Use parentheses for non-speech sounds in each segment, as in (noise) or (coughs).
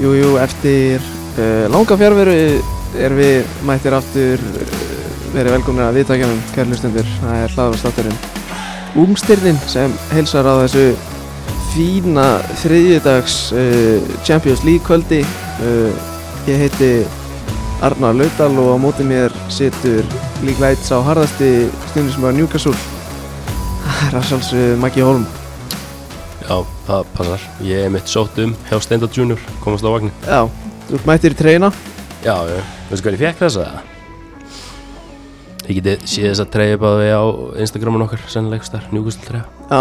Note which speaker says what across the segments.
Speaker 1: Jú, jú, eftir uh, langa fjárveru er við mættir aftur uh, verið velkomnir að viðtækjanum, kærlustendur, það er hlaðvarstátturinn Ungstyrnin sem heilsar á þessu fína þriðjudags uh, Champions League kvöldi uh, Ég heiti Arnar Laudal og á móti mér situr líklæts á harðasti stundismöður Newcastle (laughs) Það er að sjálfsögðu Maggi Holm
Speaker 2: Já, það passar. Ég er mitt sótt um hjá Stenda Junior, komast á vagnin.
Speaker 1: Já, þú ert mættir í treyna
Speaker 2: Já, já, veistu hvað ég fekk þessa? Ég geti séð þessa treyja bara við á Instagramun okkar, sennilegs þar, njúkustil treyja.
Speaker 1: Já,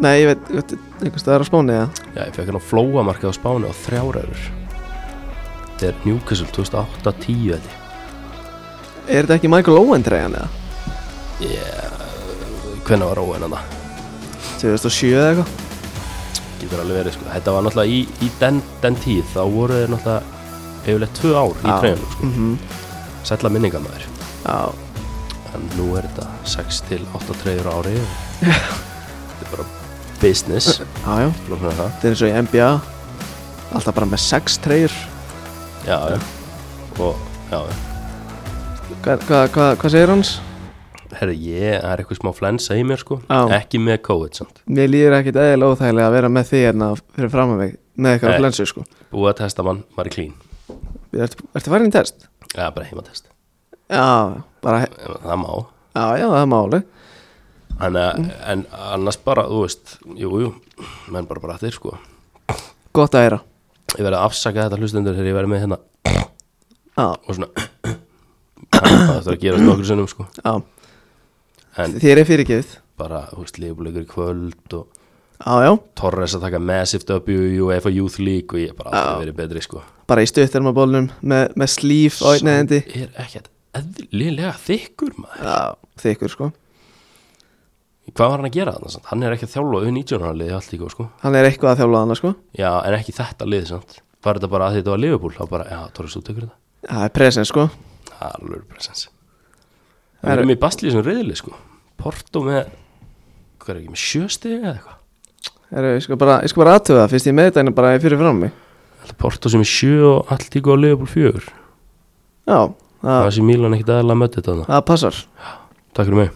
Speaker 1: nei, ég veit, veit einhvers staðar á Spáni eða
Speaker 2: Já, ég fekk hérna flóamarkið á Spáni á þrjáraður. Þetta er Newcastle 2008-10 þetta.
Speaker 1: Er þetta ekki Michael Owen treyjan eða?
Speaker 2: Hvenna var óen hann það?
Speaker 1: 2007 eða eitthvað
Speaker 2: Getur alveg verið, sko. Þetta var náttúrulega í, í den, den tíð, þá voru þeir náttúrulega yfirleitt tvö ár í
Speaker 1: Já.
Speaker 2: treyjanum, sko.
Speaker 1: mm
Speaker 2: Sætla minningamæður.
Speaker 1: Já,
Speaker 2: En nú er þetta 6 til 8 treyjur á ári. þetta er bara business.
Speaker 1: já, já,
Speaker 2: Lófum við það
Speaker 1: þetta er eins og í NBA Alltaf bara með sex treyjur
Speaker 2: Já, já Og, já, já
Speaker 1: Hvað hva, hva, hva segir hans?
Speaker 2: Herri, ég, það er eitthvað smá flensa í mér sko
Speaker 1: Já.
Speaker 2: Ekki með COVID samt
Speaker 1: Mér líður ekkit eðil óþægilega að vera með því hérna fyrir fram að mig með eitthvað
Speaker 2: Nei.
Speaker 1: flensu sko
Speaker 2: Búið að testa mann, maður er clean
Speaker 1: Ertu, ertu farin í test?
Speaker 2: Já, bara heimatest
Speaker 1: Já, bara,
Speaker 2: Ef Það má
Speaker 1: já, já, það er máli
Speaker 2: en, en annars bara, þú veist Jú, jú, menn bara bara þér sko
Speaker 1: Gott að heyra
Speaker 2: Ég verið að afsaka þetta hlustendur Þegar ég verið með hérna
Speaker 1: Já,
Speaker 2: Og svona Það þarf að gera nokkur sinnum sko
Speaker 1: já,
Speaker 2: En
Speaker 1: þér er fyrirgefið
Speaker 2: bara, þú veist, leifbúleikur í kvöld Og
Speaker 1: Já, já,
Speaker 2: Torres að taka Massive W Og EFA Youth League Og ég hef bara aldrei verið betri sko
Speaker 1: bara í stuttarmabólnum með, með slíf á einni endi
Speaker 2: er ekkert eðlilega þykkur maður
Speaker 1: Já, þykkur sko
Speaker 2: hvað var hann að gera þannig hann er ekki að þjálfa auðvitað 19 ára liði allt í góð sko
Speaker 1: Hann er eitthvað að þjálfa hana sko
Speaker 2: já en ekki þetta liði samt var þetta bara að því þetta var Liverpool þá bara já Torres þú tekur þetta
Speaker 1: Það er presens sko
Speaker 2: það er alveg presens
Speaker 1: Það
Speaker 2: við
Speaker 1: er-
Speaker 2: erum í basli sem reyðli sko Porto með hvað er ekki með sjöstegi eða eitthvað
Speaker 1: Heru, ég, skal bara, ég skal bara aðtöða það, fyrst ég með þetta bara fyrir fram mig
Speaker 2: Þetta er Porto sem er sjö og allt í góð Liverpool fjögur
Speaker 1: Já, það,
Speaker 2: það sé Milan ekkert aðalega að mötta þetta þarna.
Speaker 1: það passar
Speaker 2: takk fyrir mig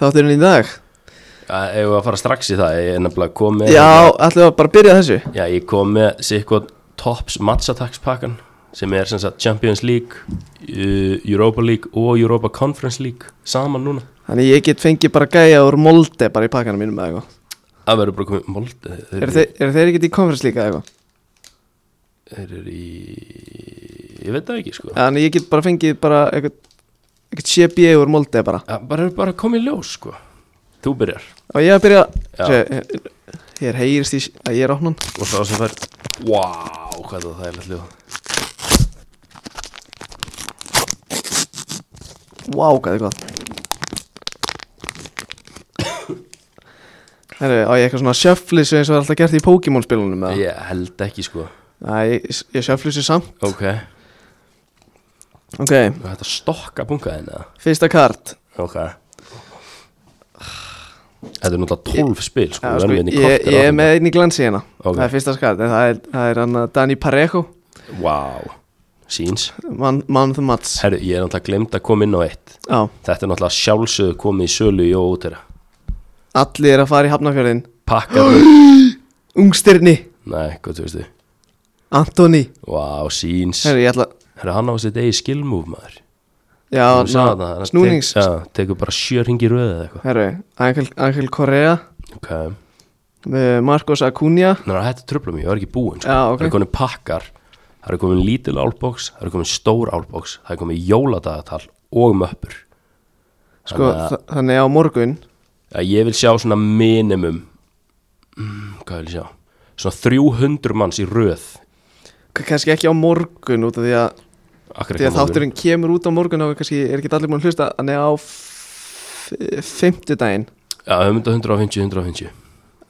Speaker 1: Þátturinn í dag
Speaker 2: Já, ef við að fara strax í það ég er nefnilega komið hérna
Speaker 1: Já, ætlum við að bara byrja þessu
Speaker 2: Já, ég kom með sikkot tops matchatakspakkan sem er sem sagt Champions League, uh, Europa League og Europa Conference League saman núna.
Speaker 1: Þannig ég get fengið bara gæja úr molde bara í pakkanum mínum eða eitthvað
Speaker 2: Það verður bara komið mold. eh,
Speaker 1: Eru þeir, er þeir ekkert í konferens líka eða eitthvað?
Speaker 2: Þeir eru í... Ég veit það ekki, sko. Ja.
Speaker 1: Þannig ég get bara fengið bara eitthvað eitthvað CBA úr molde bara
Speaker 2: Bara er bara komið ljós, sko. Þú byrjar.
Speaker 1: Og ég að byrja
Speaker 2: Já.
Speaker 1: Sjö, hér, hér heyrist í að ég er opnan
Speaker 2: Og þá sem fær... Vá, wow, hvað það er alltaf ljóð.
Speaker 1: Vá, wow, hvað er gott (coughs) Herru, á ég eitthvað svona sjöflis eins og er alltaf gert í Pokémon spilunum eða?
Speaker 2: Ég held ekki, sko.
Speaker 1: Nei, ég, ég sjöflis samt
Speaker 2: Ok.
Speaker 1: Ok,
Speaker 2: Þetta stokka bunkaðin, eða?
Speaker 1: fyrsta kart
Speaker 2: Ok. Þetta er náttúrulega 12 spil, sko.
Speaker 1: Já,
Speaker 2: við
Speaker 1: sko,
Speaker 2: erum
Speaker 1: ég,
Speaker 2: hérna í korter
Speaker 1: ég
Speaker 2: á
Speaker 1: er
Speaker 2: þetta.
Speaker 1: með einn í glansi hérna
Speaker 2: Ok.
Speaker 1: Það er fyrsta kart, en það er, það er hann að Dani Parejo
Speaker 2: Vá, síns
Speaker 1: Man, man of the Mats
Speaker 2: Herru, ég er náttúrulega glemt að koma inn á eitt
Speaker 1: Já,
Speaker 2: Þetta er náttúrulega sjálfsögðu komið í sölu í óútera
Speaker 1: allir er að fara í Hafnafjörðin (gasps)
Speaker 2: Pakkaður
Speaker 1: Ungstirni,
Speaker 2: Nei, hvað þú veistu
Speaker 1: Antoni
Speaker 2: Vá, síns
Speaker 1: Herru, ég ætla
Speaker 2: Herru, hann á sitt eigi skilmúf maður
Speaker 1: Já,
Speaker 2: Þú sagði
Speaker 1: ná,
Speaker 2: það, hann
Speaker 1: snúnings
Speaker 2: tek, Já, tekur bara sjö ringi röðu eða eitthvað
Speaker 1: Herru, Angel, Angel Correa
Speaker 2: Ok Þannig
Speaker 1: eh, Marcos Acuna
Speaker 2: að þetta tröfla mig, ég var ekki búinn sko.
Speaker 1: Já, ok.
Speaker 2: Það er komin pakkar Það er komin lítil álboks Það er komin stór álboks Það er komin jóladagatal og möppur
Speaker 1: Sko,
Speaker 2: Þannig
Speaker 1: þa- þannig á morgun
Speaker 2: að ég vil sjá svona minimum mm, Hvað vil ég sjá? Svona 300 manns í röð
Speaker 1: K- kannski ekki á morgun út af því að,
Speaker 2: Akkur
Speaker 1: því að þátturinn kemur út á morgun og kannski er ekki allir búin að hlusta hann er á fymtudaginn
Speaker 2: Já, það mynda 150, 150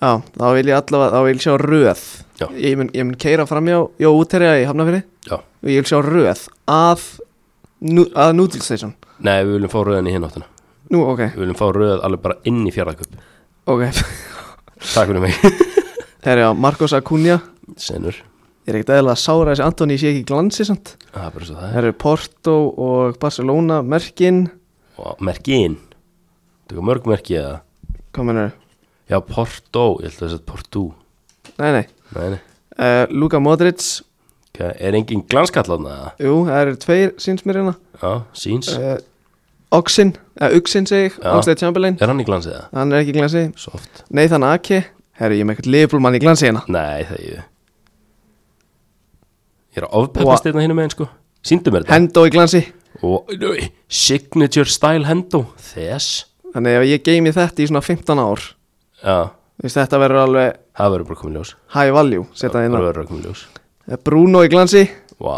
Speaker 1: já, þá vil ég allavega, þá vil ég sjá röð
Speaker 2: Já.
Speaker 1: ég mun, ég mun keira fram hjá já, útterja í Hafnafyrir
Speaker 2: Já,
Speaker 1: og ég vil sjá röð að, nú, að Noodle Station
Speaker 2: nei, við viljum fá röðan í hináttina
Speaker 1: nú, ok,
Speaker 2: Við viljum fá röð alveg bara inn í fjárðaköp
Speaker 1: ok
Speaker 2: Takk fyrir mig
Speaker 1: (laughs) Herra, já, Marcos Acuna
Speaker 2: senur
Speaker 1: Ég er ekkert eðalega að sára þessi Antoni sé ekki í glansi samt
Speaker 2: það er bara svo það er
Speaker 1: Herra, Porto og Barcelona, Merkin
Speaker 2: og merkin þú er mörg merki eða
Speaker 1: Hvað mennur þau?
Speaker 2: já Porto ég held að það er Porto
Speaker 1: Nei, nei
Speaker 2: nei nei
Speaker 1: uh, Luka Modric,
Speaker 2: Hvað, er engin glanskallan eða
Speaker 1: jú, það eru tveir síns mér hérna
Speaker 2: já síns
Speaker 1: uh, Oxin, eða Uxin segi ég
Speaker 2: Já.
Speaker 1: Oxlade Chamberlain,
Speaker 2: er hann í glans eða
Speaker 1: hann er ekki í glansi
Speaker 2: soft
Speaker 1: Nathan Ake, herru, ég er með eitthvað liðbúlmann í glansi hérna
Speaker 2: nei það er ég ég er að ofpeppast þetta hinn um einn sko síndu mér þetta
Speaker 1: Hendo í glansi
Speaker 2: og nei, signature style hendo þess
Speaker 1: Þannig ef ég geimi þetta í svona 15 ár
Speaker 2: já
Speaker 1: þú veist, Þetta verður alveg
Speaker 2: það verður bara komin ljós
Speaker 1: high value Setja það
Speaker 2: það
Speaker 1: inn á Eh,
Speaker 2: verður bara komin ljós
Speaker 1: Bruno í glansi
Speaker 2: Vá,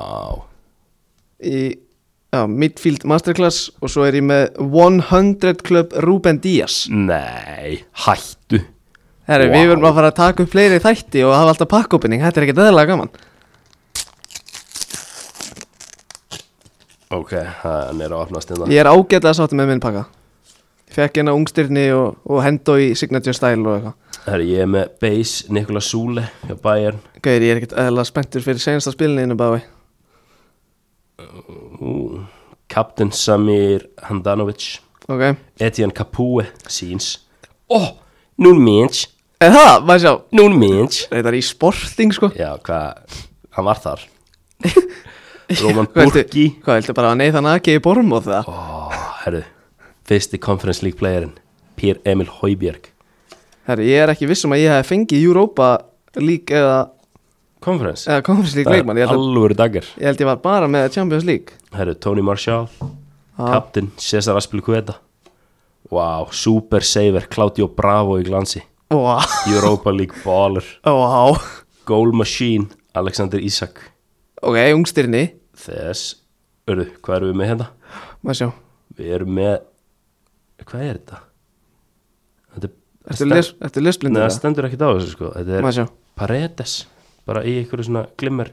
Speaker 1: í já, Midfield Masterclass og svo er ég með 100 Club Ruben Díaz
Speaker 2: nei, hættu
Speaker 1: Herri,
Speaker 2: Vá.
Speaker 1: við verðum að fara að taka upp fleiri þætti og hafa alltaf pakkopening, þetta er ekkert eðalega gaman
Speaker 2: Ok, hann er að opnast hérna. þetta
Speaker 1: Ég er ágætlega sátti með minn pakka Ég fekk hérna ungstyrni og, og hendo í signature style og eitthvað
Speaker 2: Herri, ég er með Base, Nikola Sule hjá Bayern
Speaker 1: Gauðir, ég er ekkert eðalega spenntur fyrir senasta spilinu innu bái
Speaker 2: Ú, Captain Samir Handanovic
Speaker 1: Ok,
Speaker 2: Etienne Capue, Sins Ó, oh, Núl Minch
Speaker 1: en það, maður sjá
Speaker 2: Núl Minch
Speaker 1: Þetta er í sporting sko
Speaker 2: Já, hvað, hann var
Speaker 1: (laughs)
Speaker 2: þar Roman
Speaker 1: Hvað viltu-
Speaker 2: Burki
Speaker 1: Hvað, heldur bara að neyða naki í borm og það?
Speaker 2: Ó, herru, fyrsti Conference League playerin Pierre-Emil Højbjerg
Speaker 1: Herri, ég er ekki viss um að ég hef fengið Europa League eða,
Speaker 2: Conference?
Speaker 1: eða Conference League
Speaker 2: Það er
Speaker 1: leikmann ég held,
Speaker 2: alvöru daggar
Speaker 1: að, ég held ég var bara með Champions League
Speaker 2: Herru, Tony Marshall
Speaker 1: Já.
Speaker 2: Captain, Cesar Aspilicueta Vá, Super Saver Claudio Bravo í glansi
Speaker 1: Vá,
Speaker 2: Europa League Baller
Speaker 1: vá
Speaker 2: Goal Machine, Alexander Isak
Speaker 1: Ok, ungstyrni
Speaker 2: Þess, örðu, hvað erum við með hérna?
Speaker 1: Maður sjá,
Speaker 2: Við erum með Hvað er þetta? Þetta er
Speaker 1: ertu les- ertu
Speaker 2: Nei,
Speaker 1: lesblindur
Speaker 2: það
Speaker 1: það?
Speaker 2: stendur ekkert á þessu sko Þetta er
Speaker 1: Má sjá.
Speaker 2: Paredes Bara í einhverju svona glimmer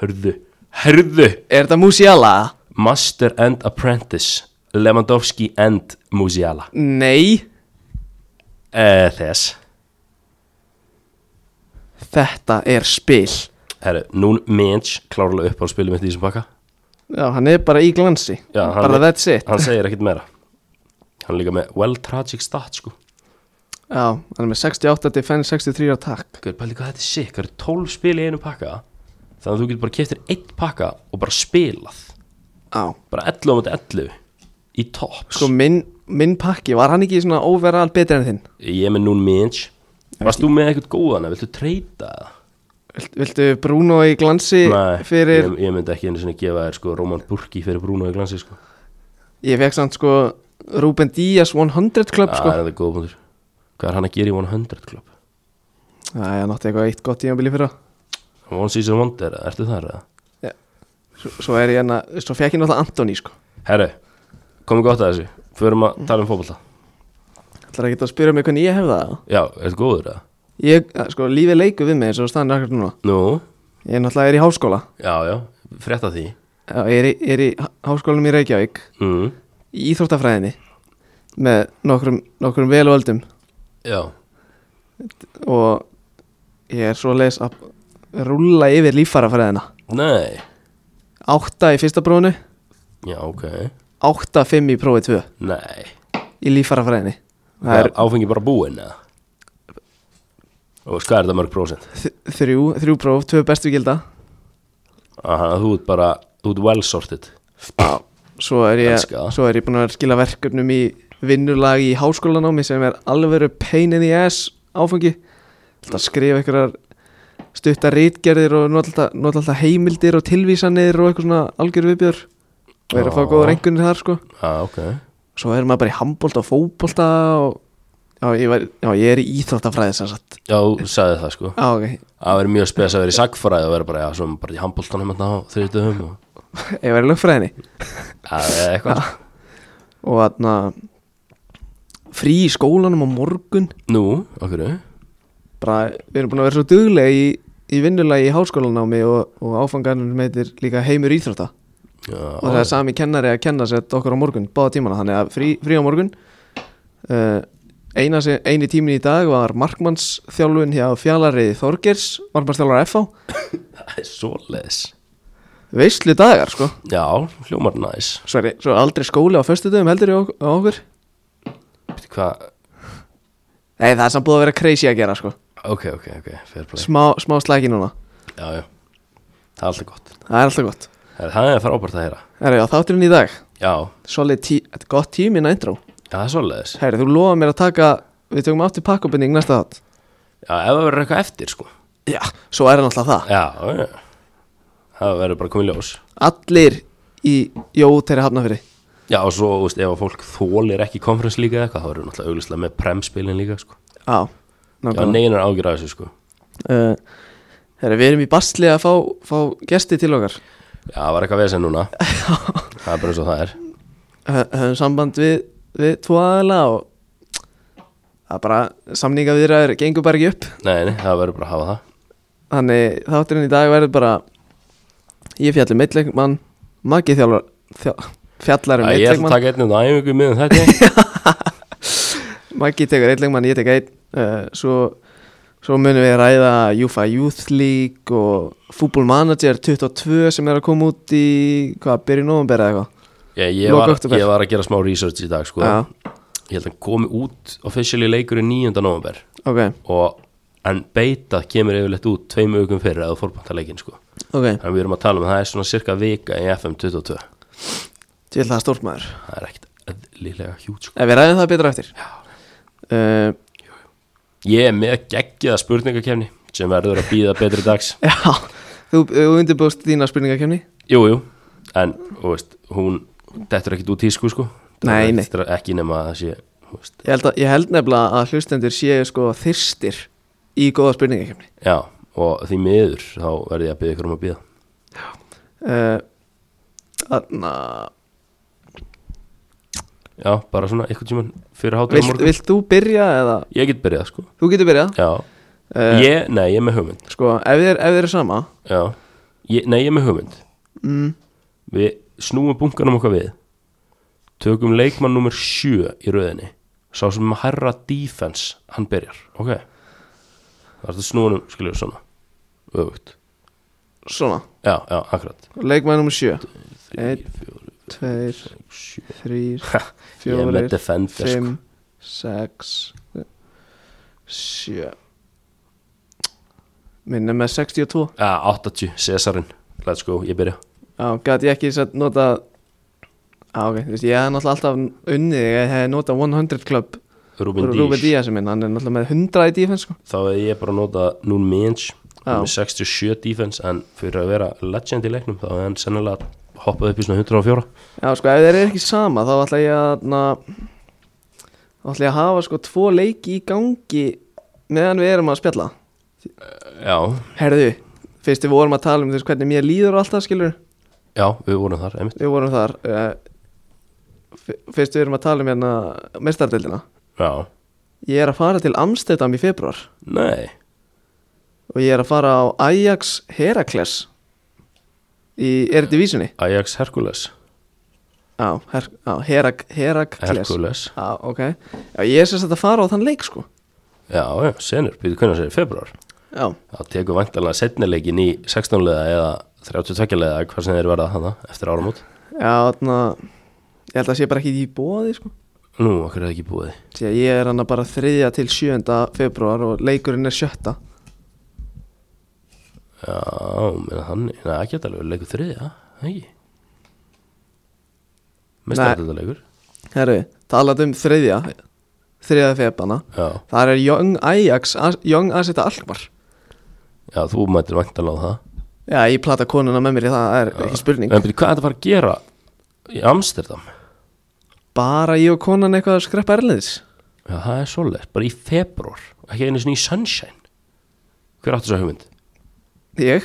Speaker 2: Hörðu, hörðu
Speaker 1: Er þetta Musiala?
Speaker 2: Master and Apprentice Lewandowski and Musiala
Speaker 1: Nei,
Speaker 2: Eh, Þess
Speaker 1: þetta er spil
Speaker 2: Herru, nún Minch klárlega upp á spilum mitt í þessum pakka
Speaker 1: Já, hann er bara í glansi
Speaker 2: Já, hann
Speaker 1: Bara
Speaker 2: er-
Speaker 1: that's it
Speaker 2: Hann segir ekkert meira Hann er líka með well tragic stat sko
Speaker 1: Já, hann er með 68 defense, 63 attack
Speaker 2: Guður, pæli hvað þetta er sick, það eru 12 spil í einu pakka Þannig að þú getur bara keftir einn pakka og bara spilað
Speaker 1: Já,
Speaker 2: Bara 11 á mæti 11 Í tops
Speaker 1: sko minn, minn pakki Var hann ekki svona overall betri en þinn?
Speaker 2: Ég er með nún Minch Varst þú með eitthvað góðan, viltu treyta það?
Speaker 1: Vilt- Viltu Bruno í glansi
Speaker 2: Nei,
Speaker 1: fyrir
Speaker 2: ég, ég myndi ekki einu sinni gefa þér sko Róman Burki fyrir Bruno í glansi sko
Speaker 1: Ég fekk samt sko Ruben Díaz 100
Speaker 2: Það
Speaker 1: Club sko
Speaker 2: Ah, er það góð punktur Hvað er hann að gera í 100 klubb?
Speaker 1: Það er nátti eitthvað eitt gott tímabili fyrir
Speaker 2: One season wonder, ertu þar eða?
Speaker 1: Svo, svo er ég hérna, svo fekk ég náttúrulega Antoni sko
Speaker 2: Herru, komum gott að þessu Förum að tala um fótbolta
Speaker 1: Það er ekki að spyrja mig hvernig ég hef það
Speaker 2: Já, ertu góður eða?
Speaker 1: Ég, eh, sko, lífið leikur við mig eins og staðan er akkur núna
Speaker 2: Nú,
Speaker 1: Ég náttúrulega er í háskóla
Speaker 2: já, já, frétta því
Speaker 1: Já, Ég er í, ég er í há- háskólanum í Reykjavík
Speaker 2: mm.
Speaker 1: Í Íþróttafræðinni Með nokkrum, nokkrum vel og öldum
Speaker 2: Já,
Speaker 1: Og ég er svo leis að Rúlla yfir líffarafræðina
Speaker 2: nei
Speaker 1: Átta í fyrsta prófunu
Speaker 2: Já, ok,
Speaker 1: Átta fimm í prófi tvö
Speaker 2: nei
Speaker 1: Í líffarafræðinni
Speaker 2: Það
Speaker 1: Það
Speaker 2: er áfengi bara búinn eða? Og hvað er þetta mörg prósent?
Speaker 1: er þ- þrjú, þrjú próf, tvö bestu gilda
Speaker 2: Aha, þú ert bara, þú ert well sorted
Speaker 1: Svo er ég,
Speaker 2: Elska það.
Speaker 1: svo er ég búin að vera að skila verkefnum í vinnulag í háskólanámi sem er alveg pain in the ass áfangi Alltaf skrifa einhverjar stuttar rítgerðir og nota alltaf, nota alltaf heimildir og tilvísanir og eitthvað svona algjör viðbjör og er að fá
Speaker 2: Já.
Speaker 1: góða rengunir þar sko
Speaker 2: Já, ok
Speaker 1: Svo er maður bara í handbólta og fótbólta og já ég, var, já, ég er í íþróttafræði sem sagt
Speaker 2: Já, þú sagði það sko
Speaker 1: Já, ok,
Speaker 2: Það verður mjög spes að vera í sagfræði og vera bara, já, svona bara í handbóltanum hérna á þriðutöfum og
Speaker 1: ég var í lögfræðinni
Speaker 2: Það er eitthvað
Speaker 1: og þarna frí í skólanum á morgun
Speaker 2: Nú, okkur
Speaker 1: bara, við erum búin að vera svo duglega í, í vinnulagi í háskólanámi og, og áfangarnir meitir líka heimur íþrótta og það er
Speaker 2: Já,
Speaker 1: sami kennari að kenna sér okkur á morgun, báða tímana þannig að frí, frí á morgun uh, Eina sem, eini tímin í dag var markmannsþjálfun hjá fjallari Þorgers, markmannsþjálfar FH
Speaker 2: Það er svoleiðis
Speaker 1: Veislu dagar sko
Speaker 2: Já, hljómar næs
Speaker 1: Sværi, svo aldrei skóli á föstudöfum heldur í ok- á okkur
Speaker 2: Býttu, Hvað,
Speaker 1: Nei, það er samt búið að vera crazy að gera sko
Speaker 2: ok, ok, ok, fair play
Speaker 1: Smá, smá slæki núna,
Speaker 2: Já, já, það er alltaf gott
Speaker 1: það er alltaf gott
Speaker 2: Það er- Það er frábært að heyra
Speaker 1: Herra, já, þátturinn í dag
Speaker 2: Já,
Speaker 1: Solid tí, þetta er gott tímin að intro
Speaker 2: já, það er svoleiðis
Speaker 1: Herri, þú lofa mér að taka, við tökum aftur pakkabinning næsta þátt
Speaker 2: Já, ef það verður eitthvað eftir, sko
Speaker 1: Já, svo er hann alltaf það
Speaker 2: Já, já Það verður bara komið ljós
Speaker 1: Allir í Jóteri Hafnafyrri
Speaker 2: Já, og svo, þú veist, ef að fólk þólir ekki konferens líka eða eitthvað, þá verður náttúrulega auglislega með premspilin líka, sko
Speaker 1: Já,
Speaker 2: Já,
Speaker 1: nákvæmlega
Speaker 2: neinar ágjur að þessu, sko
Speaker 1: uh, herri, Við erum í basli að fá, fá gesti til okkar
Speaker 2: Já, það var eitthvað vesen núna Það er bara eins og það er
Speaker 1: Hö- Höfum samband við, við tvo aðeila og það er bara samninga viðræður gengur bara ekki upp
Speaker 2: Nei, nei, það verður bara að hafa það
Speaker 1: Þannig þátturinn í dag verður bara Ég fjallir meitleikmann Maggi þjálfar þjá, Fjallar um
Speaker 2: Já, Ég ætla að
Speaker 1: meitleikmann
Speaker 2: taka einnig um það æfingu miðum þetta
Speaker 1: Maggi tekur eitleikmann, ég tek eitt uh, Svo Svo munum við ræða Júfa Youth League og Fútbol Manager 22 sem er að koma út í hvað, byrjun november eða eitthvað
Speaker 2: ég, ég,
Speaker 1: Lok
Speaker 2: var,
Speaker 1: október.
Speaker 2: ég var að gera smá research í dag, sko
Speaker 1: Já.
Speaker 2: Ég held að hann komi út officially leikur í 9. november
Speaker 1: Ok,
Speaker 2: og en beita kemur yfirleitt út tveim augum fyrir að þú fórbanta leikin, sko
Speaker 1: ok,
Speaker 2: Þannig við erum að tala um að það er svona cirka vika í FM 22
Speaker 1: til það er stórt maður
Speaker 2: Það er ekkit eðlilega hjút, sko
Speaker 1: En við ræðum það betra eftir uh,
Speaker 2: Ég er með geggjaða spurningakefni sem verður að býða betri dags
Speaker 1: (laughs) Já, þú, þú undirbúst þína spurningakefni
Speaker 2: Jú, jú, en þú veist, hún, þetta er ekkit út tísku sko
Speaker 1: Nei, nei.
Speaker 2: Þetta er ekki nema að það sé, þú veist,
Speaker 1: ég held, að, ég held nefnilega að hlustendur séu sko þyrstir í góða spurningakefni
Speaker 2: já og því miður þá verði ég að byggja ykkur um að býða
Speaker 1: uh, Þannig að
Speaker 2: Já, bara svona einhvern tímann fyrir hátur á
Speaker 1: vilt,
Speaker 2: morgun
Speaker 1: vilt þú byrja eða
Speaker 2: Ég get byrjað sko
Speaker 1: Þú getur byrjað
Speaker 2: Já,
Speaker 1: uh,
Speaker 2: ég, nei, ég er með hugmynd
Speaker 1: Sko, ef þið er, ef þið er sama
Speaker 2: Já, ég, nei, ég er með hugmynd
Speaker 1: mm,
Speaker 2: Við snúum bunkanum okkar við Tökum leikmann nummer sjö í rauðinni Sá sem að herra defense Hann byrjar, ok Það er þetta snúanum, skiljum svona Öfugt,
Speaker 1: Svona,
Speaker 2: já, já, akkurat
Speaker 1: leikmæð nr. 7
Speaker 2: Þrír,
Speaker 1: Tveir,
Speaker 2: sjö.
Speaker 1: þrír,
Speaker 2: Ha, Ég er með
Speaker 1: fjórir,
Speaker 2: defender sko.
Speaker 1: fimm, sex, sjö Minna með 62
Speaker 2: Já, 80, Cesarinn Let's go, ég byrja
Speaker 1: Já, gæti ég ekki satt nota Já, ok, þú veist, ég hef náttúrulega alltaf unnið Ég hef notað 100 Club
Speaker 2: Ruben
Speaker 1: Rúbe
Speaker 2: Díaz
Speaker 1: Díaz er minn, hann er náttúrulega með 100 í defense sko.
Speaker 2: Þá er ég bara að nota Nún Minch
Speaker 1: Já.
Speaker 2: með 67 defense En fyrir að vera legend í leiknum Þá er hann sennilega hoppað upp í svona 104
Speaker 1: Já, sko, ef þeir eru ekki sama Þá ætla ég að na, Þá ætla ég að hafa sko tvo leiki í gangi Meðan við erum að spjalla
Speaker 2: Já,
Speaker 1: Herðu, fyrst við vorum að tala um þú veist, Hvernig mér líður og allt það, skilur
Speaker 2: já, við vorum þar, einmitt
Speaker 1: Við vorum þar uh, Fyrst við erum að tala um hérna Mestardeldina
Speaker 2: Já,
Speaker 1: Ég er að fara til Amstedam í februar
Speaker 2: nei
Speaker 1: og ég er að fara á Ajax Herakles í Eredivísunni
Speaker 2: Ajax Hercules
Speaker 1: á, her, á Herak, Herakles
Speaker 2: Hercules,
Speaker 1: á, ok já, ég er sem sagt að fara á þann leik sko
Speaker 2: já, já, senur, býtu hvernig sér í februar
Speaker 1: já,
Speaker 2: Það tekur vantanlega setnilegin í 16 leða eða 32 leða hvað sem þeir verða hana eftir áramót
Speaker 1: já, þarna ég held að sé bara ekki í bóði sko
Speaker 2: Nú, okkur er það ekki búið
Speaker 1: því að ég er hann bara þriðja til 7. februar og leikurinn er sjötta
Speaker 2: Já, menn hann, neða, ekki þetta alveg leikur þriðja, það ekki Mest
Speaker 1: Nei.
Speaker 2: að þetta leikur
Speaker 1: herru, talað um þriðja þriðja febana
Speaker 2: Já,
Speaker 1: þar er Young Ajax As- Young Asita Alkmar
Speaker 2: já, þú mætir vantanlega á það
Speaker 1: já, ég plata konuna með mér í það, það er ekki spurning
Speaker 2: En byrju, hvað er þetta fara að gera í Amsterdam?
Speaker 1: bara ég og konan eitthvað að skreppa erlendis
Speaker 2: Já, það er svoleiðis, bara í februar Ekki einu sinni í Sunshine Hver áttu svo hugmynd?
Speaker 1: Ég?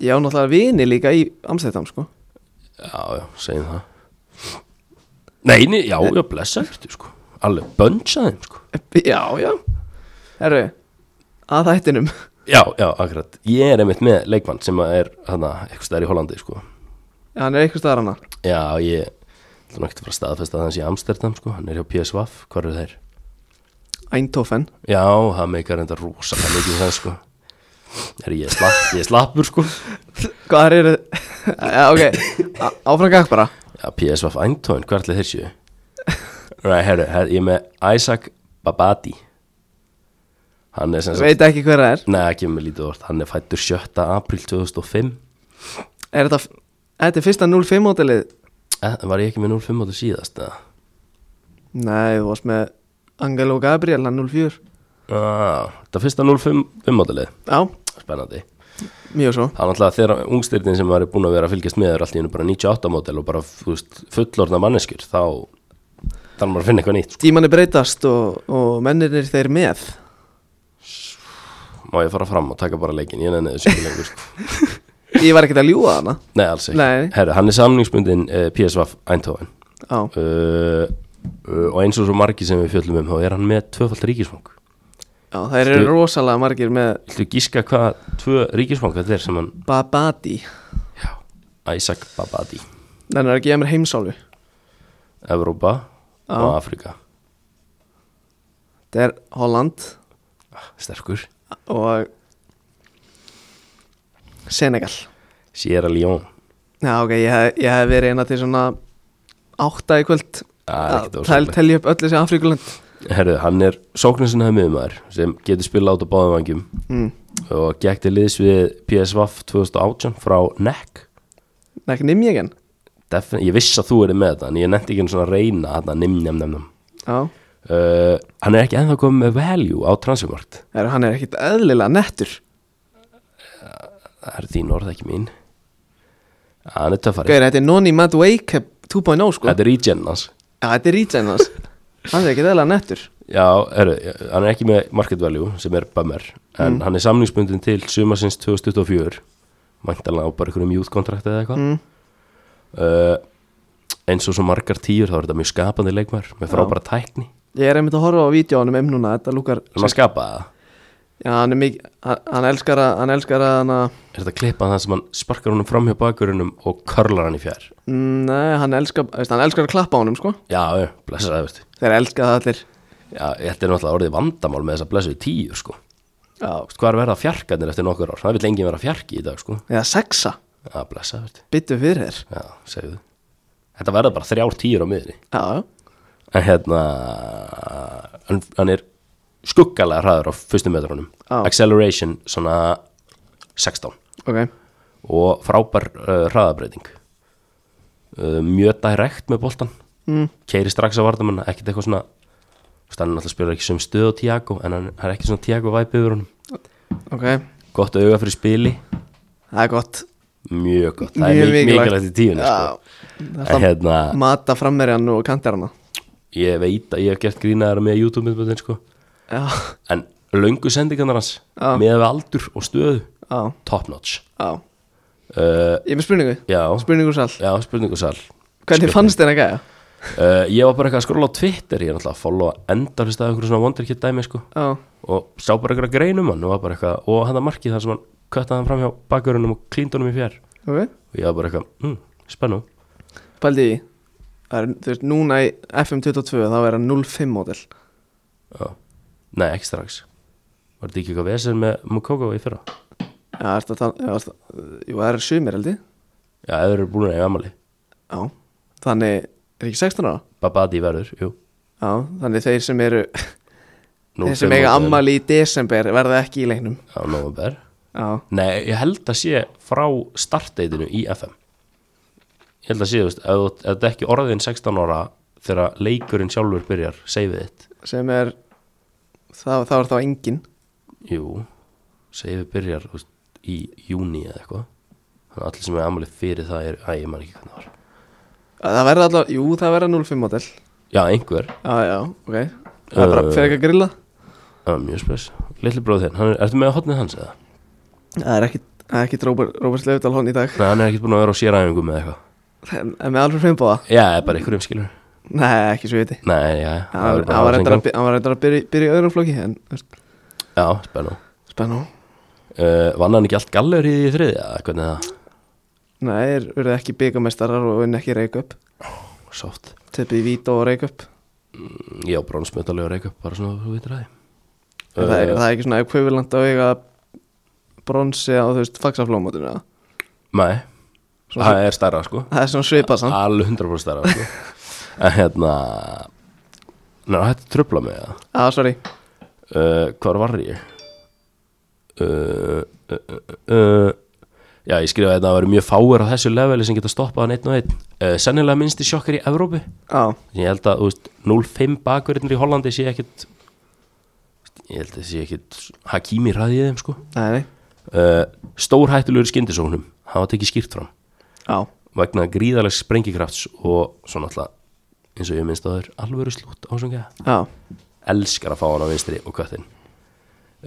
Speaker 1: Ég á náttúrulega vini líka í Amstættam sko
Speaker 2: Já, já, segjum það Nei, nei, já, já, blessa eftir sko Alveg bönsa þeim sko
Speaker 1: Já, já Herru, að þættinum
Speaker 2: Já, já, akkurat Ég er einmitt með leikmann sem að er hana, eitthvað stær í Hollandi sko
Speaker 1: Hann er eitthvað staðar hana
Speaker 2: Já, ég ætlum ekki að fara að staðfesta að hans í Amsterdam sko Hann er hjá PSVaf, hvar eru þeir?
Speaker 1: Eindhoven
Speaker 2: Já, það meikar enda rosalega mikið það sko Er ég, er slapp, ég er slappur sko
Speaker 1: Hvað eru (laughs) Já, ok, Á- áfram gag bara
Speaker 2: Já, PSV Eindhoven, hvað ætli þeir séu? Nei, herru, her, ég er með Isaac Babati Hann er sem sagt
Speaker 1: Veit ekki hver það er
Speaker 2: Nei, ekki með lítið orð, hann er fættur 7. apríl 2005
Speaker 1: Er þetta, þetta er fyrsta 05 mótilið
Speaker 2: eh, Var ég ekki með 05 áttu síðast? eða?
Speaker 1: Nei, þú varst með Angelo Gabriel, hann 04
Speaker 2: Ah, þetta er fyrsta 05 áttalið
Speaker 1: Já,
Speaker 2: Spennandi
Speaker 1: mjög svo
Speaker 2: Það er náttúrulega þegar ungstyrnin sem var búin að vera að fylgjast með er allt í hennu bara 98 mótel og bara þú veist, fullorna manneskjur þá þarf maður að finna eitthvað nýtt sko.
Speaker 1: Tímanni breytast og, og mennirnir þeir með
Speaker 2: Má ég fara fram og taka bara leikin, ég nenni þessu ekki lengur sko.
Speaker 1: Ég var ekkert að ljúga hana
Speaker 2: Nei, alls ekki
Speaker 1: Nei.
Speaker 2: Herru, hann er samningsbundin uh, PSV Eindhoven
Speaker 1: Já,
Speaker 2: uh, uh, og eins og svo margi sem við fjöllum um þá er hann með tvöfald ríkisfang
Speaker 1: já það eru
Speaker 2: Stu-
Speaker 1: rosalega margir með
Speaker 2: Viltu gíska hvað tvö ríkisfang þetta er sem hann
Speaker 1: Babadi
Speaker 2: Já, Isaac Babadi
Speaker 1: Þannig er að gefa mér heimsálu
Speaker 2: Evrópa
Speaker 1: Já.
Speaker 2: og Afrika
Speaker 1: Það er Holland
Speaker 2: Ah, Sterkur
Speaker 1: og Senegal
Speaker 2: Sierra Leone
Speaker 1: Já, ok, ég hef, ég hef verið eina til svona átta í kvöld
Speaker 2: Það Ah, er ekkert
Speaker 1: tel,
Speaker 2: ósæmlegt.
Speaker 1: telja upp öll þessi Afrikuland
Speaker 2: Herðu, hann er sóknarsinnaði miðumæður sem getur spila át á báðum vangjum
Speaker 1: mm.
Speaker 2: og gekk til liðs við PSVaf 2018 frá NEC
Speaker 1: Nei, ekki nýmjögin
Speaker 2: Defin ég viss að þú eru með þetta en ég nefndi ekki einu svona að reyna þarna nimm, nimm, nimm, nimm.
Speaker 1: Já,
Speaker 2: Uh, hann er ekki ennþá komið með value á transfermarkt
Speaker 1: er, hann er ekkit eðlilega nettur
Speaker 2: það eru þín orð ekki mín hann er töffari
Speaker 1: Gauðir, þetta er Noni Madueke 2.0 sko
Speaker 2: þetta er regen hans
Speaker 1: Já, þetta er Regen hans Hann er ekkit eðlilega nettur
Speaker 2: já, heru, hann er ekki með market value sem er bummer en hann er samlingsbundin til sumarsins 2024 mæntalega á bara einhverjum youth contract eða eitthvað
Speaker 1: mm.
Speaker 2: uh, eins og svo margar tíur þá er þetta mjög skapandi leikmar með frábæra tækni
Speaker 1: Ég er einmitt að horfa á vídjónum um núna Þetta lúkar
Speaker 2: er maður skapað það?
Speaker 1: Já, hann er mikið Hann hann elskar að Hann elskar að hann að
Speaker 2: er þetta klippað það sem hann sparkar honum fram hjá bakurinnum og körlar hann í fjær
Speaker 1: Mm, Nei, hann elskar veist, Hann elskar að klappa á honum sko
Speaker 2: já, já, blessa það, veistu
Speaker 1: Þeir elska það allir
Speaker 2: já, þetta er náttúrulega orðið vandamál með þessa blessuðu tíu sko
Speaker 1: Já
Speaker 2: Veistu, hvað er verða fjarkarnir eftir nokkur ár það vil enginn vera fjarki í dag sko
Speaker 1: Eða sexa
Speaker 2: já, blessa það, veistu
Speaker 1: Byttu fyrir þér
Speaker 2: já, segðu þetta verða bara þrjár tíur á miðinni
Speaker 1: Já, já
Speaker 2: en hérna hann, hann er skuggalega hraður á fyrstu metrunum
Speaker 1: Já.
Speaker 2: acceleration svona 16
Speaker 1: Ok
Speaker 2: og frábær uh, hraðabreiting uh, mjög direkt með boltan
Speaker 1: mm.
Speaker 2: keiri strax á vardamanna, ekkert eitthvað svona stannin alltaf spilar ekki sem stöð á Tiago en hann hann er ekki svona Tiago væpi yfir honum
Speaker 1: Ok
Speaker 2: gott auga fyrir spili,
Speaker 1: Það er gott
Speaker 2: mjög gott það
Speaker 1: Mjög
Speaker 2: er mjög
Speaker 1: mikilvægt.
Speaker 2: mikilvægt í tíunni sko.
Speaker 1: Það er
Speaker 2: en
Speaker 1: alltaf
Speaker 2: hérna,
Speaker 1: Mata frammerjan og kantarana
Speaker 2: ég veit að ég hef gert grínaðar með YouTube-myndböndin sko.
Speaker 1: Já
Speaker 2: en löngu sendingarnar hans
Speaker 1: Já.
Speaker 2: með við aldur og stöðu
Speaker 1: Já
Speaker 2: top notch
Speaker 1: Já
Speaker 2: uh,
Speaker 1: Ég er með spurningu
Speaker 2: já,
Speaker 1: Spurningu sall
Speaker 2: já, spurningu sal
Speaker 1: Hvernig fannst þér að gæja?
Speaker 2: Uh, ég var bara eitthvað að skrolla á Twitter Ég er náttúrulega að followa endarist af einhverju svona wonderkid dæmi sko
Speaker 1: Já
Speaker 2: Og sá bara einhverja grein um hann og var bara eitthvað Og hann að markið þar sem hann köttaði hann fram hjá bakverunum og klíndunum í fjær
Speaker 1: Ok
Speaker 2: Og ég var bara eitthvað, mm, spennu
Speaker 1: Paldi í Það er, þú veist, núna í FM22 þá er hann 05 mótil
Speaker 2: Já. Nei, ekki strax Var þetta ekki eitthvað vesir með Mokoko í fyrra?
Speaker 1: Já, ertu að tala Já, ertu Jú, það er sumir held ég
Speaker 2: Já, ef þeir eru búin að eiga amali
Speaker 1: Já Þannig Er ekki 16 ára?
Speaker 2: Babadi verður, jú
Speaker 1: Já, þannig þeir sem eru
Speaker 2: (laughs) Nú,
Speaker 1: Þeir sem
Speaker 2: fimm
Speaker 1: eiga
Speaker 2: og-
Speaker 1: ammali í desember verða ekki í leiknum
Speaker 2: Já, um nóvember
Speaker 1: Já
Speaker 2: Nei, ég held að sé frá startdeitinu í FM Ég held að sé, þú veist, ef þú- ef þetta er ekki orðin 16 ára þegar leikurinn sjálfur byrjar, seifið þitt
Speaker 1: Sem er Þá, þá er þá engin
Speaker 2: Jú, seifið byrjar þú veist, í júni eða eitthvað Þannig að allir sem er amalið fyrir það er, æ, ég man ekki hvernig það var
Speaker 1: Það verða allavega, jú það verða 05 mótel
Speaker 2: Já, einhver,
Speaker 1: Já, já, ok Það er bara
Speaker 2: Uh.
Speaker 1: fyrir ekki að grilla
Speaker 2: það var mjög spes Lilli bróð þinn, hann er, ertu með hotnið hans eða?
Speaker 1: Það er ekki, það er ekki Robert, Robert Sleifdal hón í dag
Speaker 2: Nei, hann er ekkert búin að vera á séræfingum eða eitthvað
Speaker 1: En en með alveg fimm bóða
Speaker 2: Já, eða bara einhverjum skilur
Speaker 1: Nei, ekki svo viti
Speaker 2: Nei, já,
Speaker 1: Hann
Speaker 2: bara-
Speaker 1: hann var
Speaker 2: bara
Speaker 1: reyndar
Speaker 2: sem
Speaker 1: að by- hann var reyndar að byrja, byrja í öðrum flokki En þú veist,
Speaker 2: gaman. Já, spennu
Speaker 1: spennó
Speaker 2: uh, Vann hann ekki allt gallur í því þriðja, eða hvernig er það?
Speaker 1: Nei, þeir eru ekki byggamestarar og unni ekki reik upp
Speaker 2: Sátt
Speaker 1: Töpið í vít og reik upp
Speaker 2: Mm, Já, bronsmedalið og reykjöp bara svona þú veitir að
Speaker 1: Er
Speaker 2: því
Speaker 1: það, er það ekki svona ekvivalent á eiga bronsi á þú veist fagsaflómótinu eða?
Speaker 2: Nei,
Speaker 1: Svona-
Speaker 2: það er stærra sko
Speaker 1: það er svona svipað samt
Speaker 2: Alveg 100% stærra
Speaker 1: (laughs)
Speaker 2: sko En hérna Ná, þetta tröfla mig það
Speaker 1: ah, sorry,
Speaker 2: uh, Hvar var ég? Uh, uh, uh, uh, já, ég skrifaði þetta að það verið mjög fáir á þessu leveli sem geta stoppað hann einn og einn uh, Sennilega minnsti sjokkar í Evrópi
Speaker 1: á,
Speaker 2: Ég held að, þú veist, 0-5 bakverðinir í Hollandi sé ekkit Ég held að sé ekkit Hakimi ræði þeim, sko
Speaker 1: nei, nei,
Speaker 2: uh, Stórhættulegur í skyndisóknum Það var tekið skýrt fram
Speaker 1: á
Speaker 2: vegna gríðarlegs sprengikrafts og svona alltaf eins og ég minnst að það er alvöru slútt á svona gæða
Speaker 1: á,
Speaker 2: elskar að fá hann á vinstri og köttin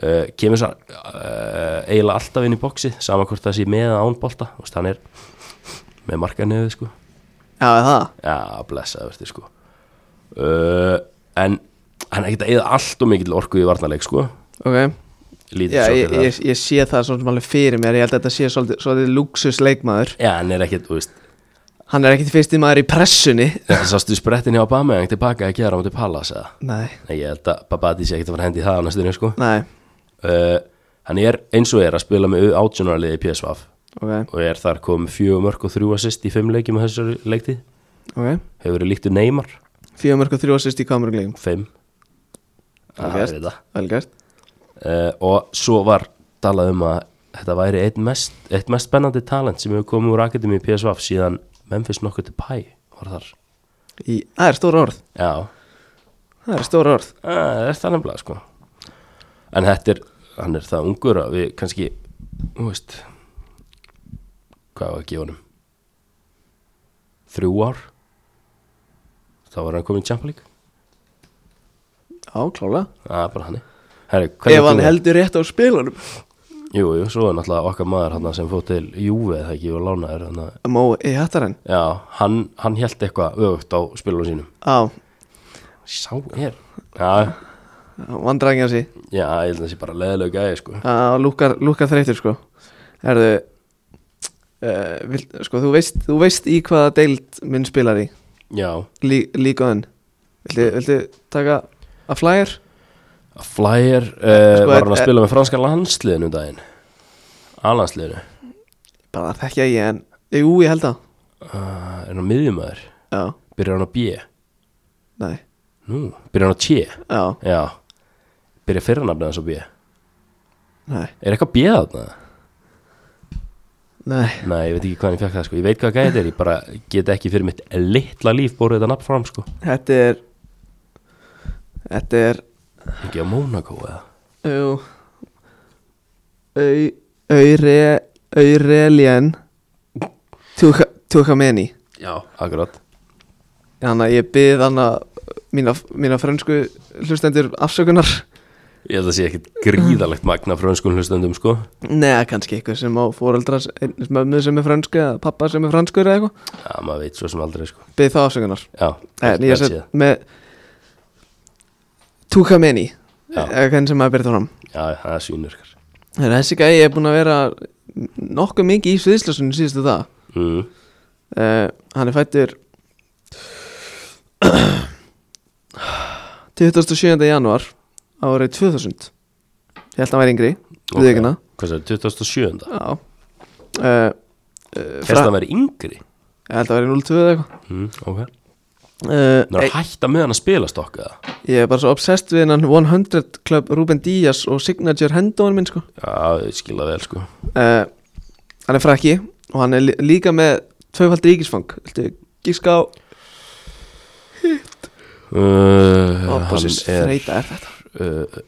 Speaker 2: uh, kemur svo uh, eiginlega alltaf inn í boxið sama hvort það sé með eða án bolta Þú veist, hann er með marka nefið sko
Speaker 1: já, er það
Speaker 2: já, blessaði verður sko uh, en hann er ekkert að eða allt og mikill orku í varnarleik sko
Speaker 1: ok,
Speaker 2: lítið
Speaker 1: já, ég,
Speaker 2: sjokkar þar.
Speaker 1: ég, ég sé það svona sem alveg fyrir mér ég held að þetta sé svolítið, svolítið luxus leikmaður
Speaker 2: já, hann er ekkert, þú veist
Speaker 1: hann er ekkit fyrsti maður í pressunni
Speaker 2: sástu sprettin hjá Bameyang tilbaka að gera á mútið Pallas eða
Speaker 1: nei,
Speaker 2: Nei, ég held að Babati sé ekkert að fara hendi í það á næstunni sko.
Speaker 1: nei,
Speaker 2: uh, Hann er eins og er að spila með átjónarliði í PSV
Speaker 1: ok,
Speaker 2: og er þar komið fjögur mörg og þrjú assist í fimm leikjum á þessari leikti
Speaker 1: ok
Speaker 2: hefur verið líktu Neymar,
Speaker 1: fjögur mörg og þrjú assist í kamerugleikum
Speaker 2: fimm
Speaker 1: Vel
Speaker 2: Það
Speaker 1: gert.
Speaker 2: er þetta.
Speaker 1: vel gert,
Speaker 2: uh, og svo var talað um að þetta væri eitt mest, eitt mest spennandi talent sem hefur komið úr Akademi í PSV síðan Memphis nokkuð til Pai var þar
Speaker 1: í, það er stóra orð
Speaker 2: Já,
Speaker 1: það er stóra orð,
Speaker 2: Ah, Það er það nefnilega sko En þetta er, hann er það ungur að við kannski, þú veist Hvað var að gefa honum? Þrjú ár Þá var hann komin í Champions League
Speaker 1: á, klála
Speaker 2: Það er bara hann Herri,
Speaker 1: ef
Speaker 2: hvernig
Speaker 1: hann
Speaker 2: þú-
Speaker 1: heldur rétt á spilunum
Speaker 2: Jú, jú, svo er náttúrulega okkar maður hann sem fótt til Júve eða ekki og lánaður hann að
Speaker 1: Mó í hattarann
Speaker 2: Já, hann, hann held eitthvað öfugt á spilunum sínum
Speaker 1: á,
Speaker 2: Sá er Já,
Speaker 1: vandræðingjan sí
Speaker 2: já, ég held að það sé bara leðilega gæði sko
Speaker 1: á, lúkar, lúkar þreytur sko erðu uh, vil, sko, þú veist, þú veist í hvaða deild minn spilar í
Speaker 2: Já,
Speaker 1: Lí, líkaðan viltu, viltu taka að flyer
Speaker 2: Flyer uh,
Speaker 1: Sko,
Speaker 2: var hann að
Speaker 1: eh,
Speaker 2: spila með franska landsliðinu um daginn A-landsliðinu uh,
Speaker 1: bara það þekkja ég en jú ég held það
Speaker 2: Ah, Er hann miðjumæður?
Speaker 1: já,
Speaker 2: Byrjar hann á B?
Speaker 1: nei,
Speaker 2: Nú, byrjar hann á T?
Speaker 1: já,
Speaker 2: Já Byrjar fyrranafnið hans á B? Er
Speaker 1: nei,
Speaker 2: eitthvað B þarna?
Speaker 1: nei
Speaker 2: Nei, ég veit ekki hvað hann fekk það sko Ég veit hvað gæði þetta er, ég bara get ekki fyrir mitt litla líf borðið þetta nafn fram sko
Speaker 1: þetta er þetta er
Speaker 2: Ekki á Monaco eða?
Speaker 1: jú Au- Aure- Aurelien Tucha- Tuchameni
Speaker 2: Já Akkurat
Speaker 1: Þannig að ég byrði þannig að mína, mína frönsku hlustendur afsökunar
Speaker 2: Ég held að sé ekkit gríðalegt magna frönskum hlustendum sko
Speaker 1: Nei, kannski eitthvað sem á fóreldra mömmu sem er frönsku eða pappa sem er franskur eða eitthvað
Speaker 2: Já, maður veit svo sem aldrei sko
Speaker 1: Byrði þá afsökunar
Speaker 2: Já,
Speaker 1: En
Speaker 2: vel
Speaker 1: Eh, ég
Speaker 2: séð.
Speaker 1: sett með Tukameni
Speaker 2: Já.
Speaker 1: eða eh, hvernig sem maður byrði þá fram
Speaker 2: Já, það er svínur
Speaker 1: Þegar þessi gæi er búin að vera nokkuð mikið í sviðslösunum síðustu það
Speaker 2: mm.
Speaker 1: uh, Hann er (clears throat) fættur 27. januar árið 2000 Ég held að hann væri yngri
Speaker 2: Ok.
Speaker 1: Við ekki hana
Speaker 2: Hvað sér, 2007?
Speaker 1: Já uh, uh,
Speaker 2: Hérst að
Speaker 1: fra,
Speaker 2: vera yngri
Speaker 1: Ég held að vera 0-2 eða
Speaker 2: mm, okay. Ná,
Speaker 1: eitthvað uh,
Speaker 2: hætta með hann að spila stokka
Speaker 1: Ég er bara svo obsessed við hennan 100 Club Ruben Díaz og Signature Hendón minn sko
Speaker 2: Já, ég skil það vel sko
Speaker 1: uh, Hann er frakki og hann er lí- líka með tvöfald ríkisfang Viltu gíska á
Speaker 2: uh,
Speaker 1: Opposins
Speaker 2: er
Speaker 1: þreita er þetta
Speaker 2: uh,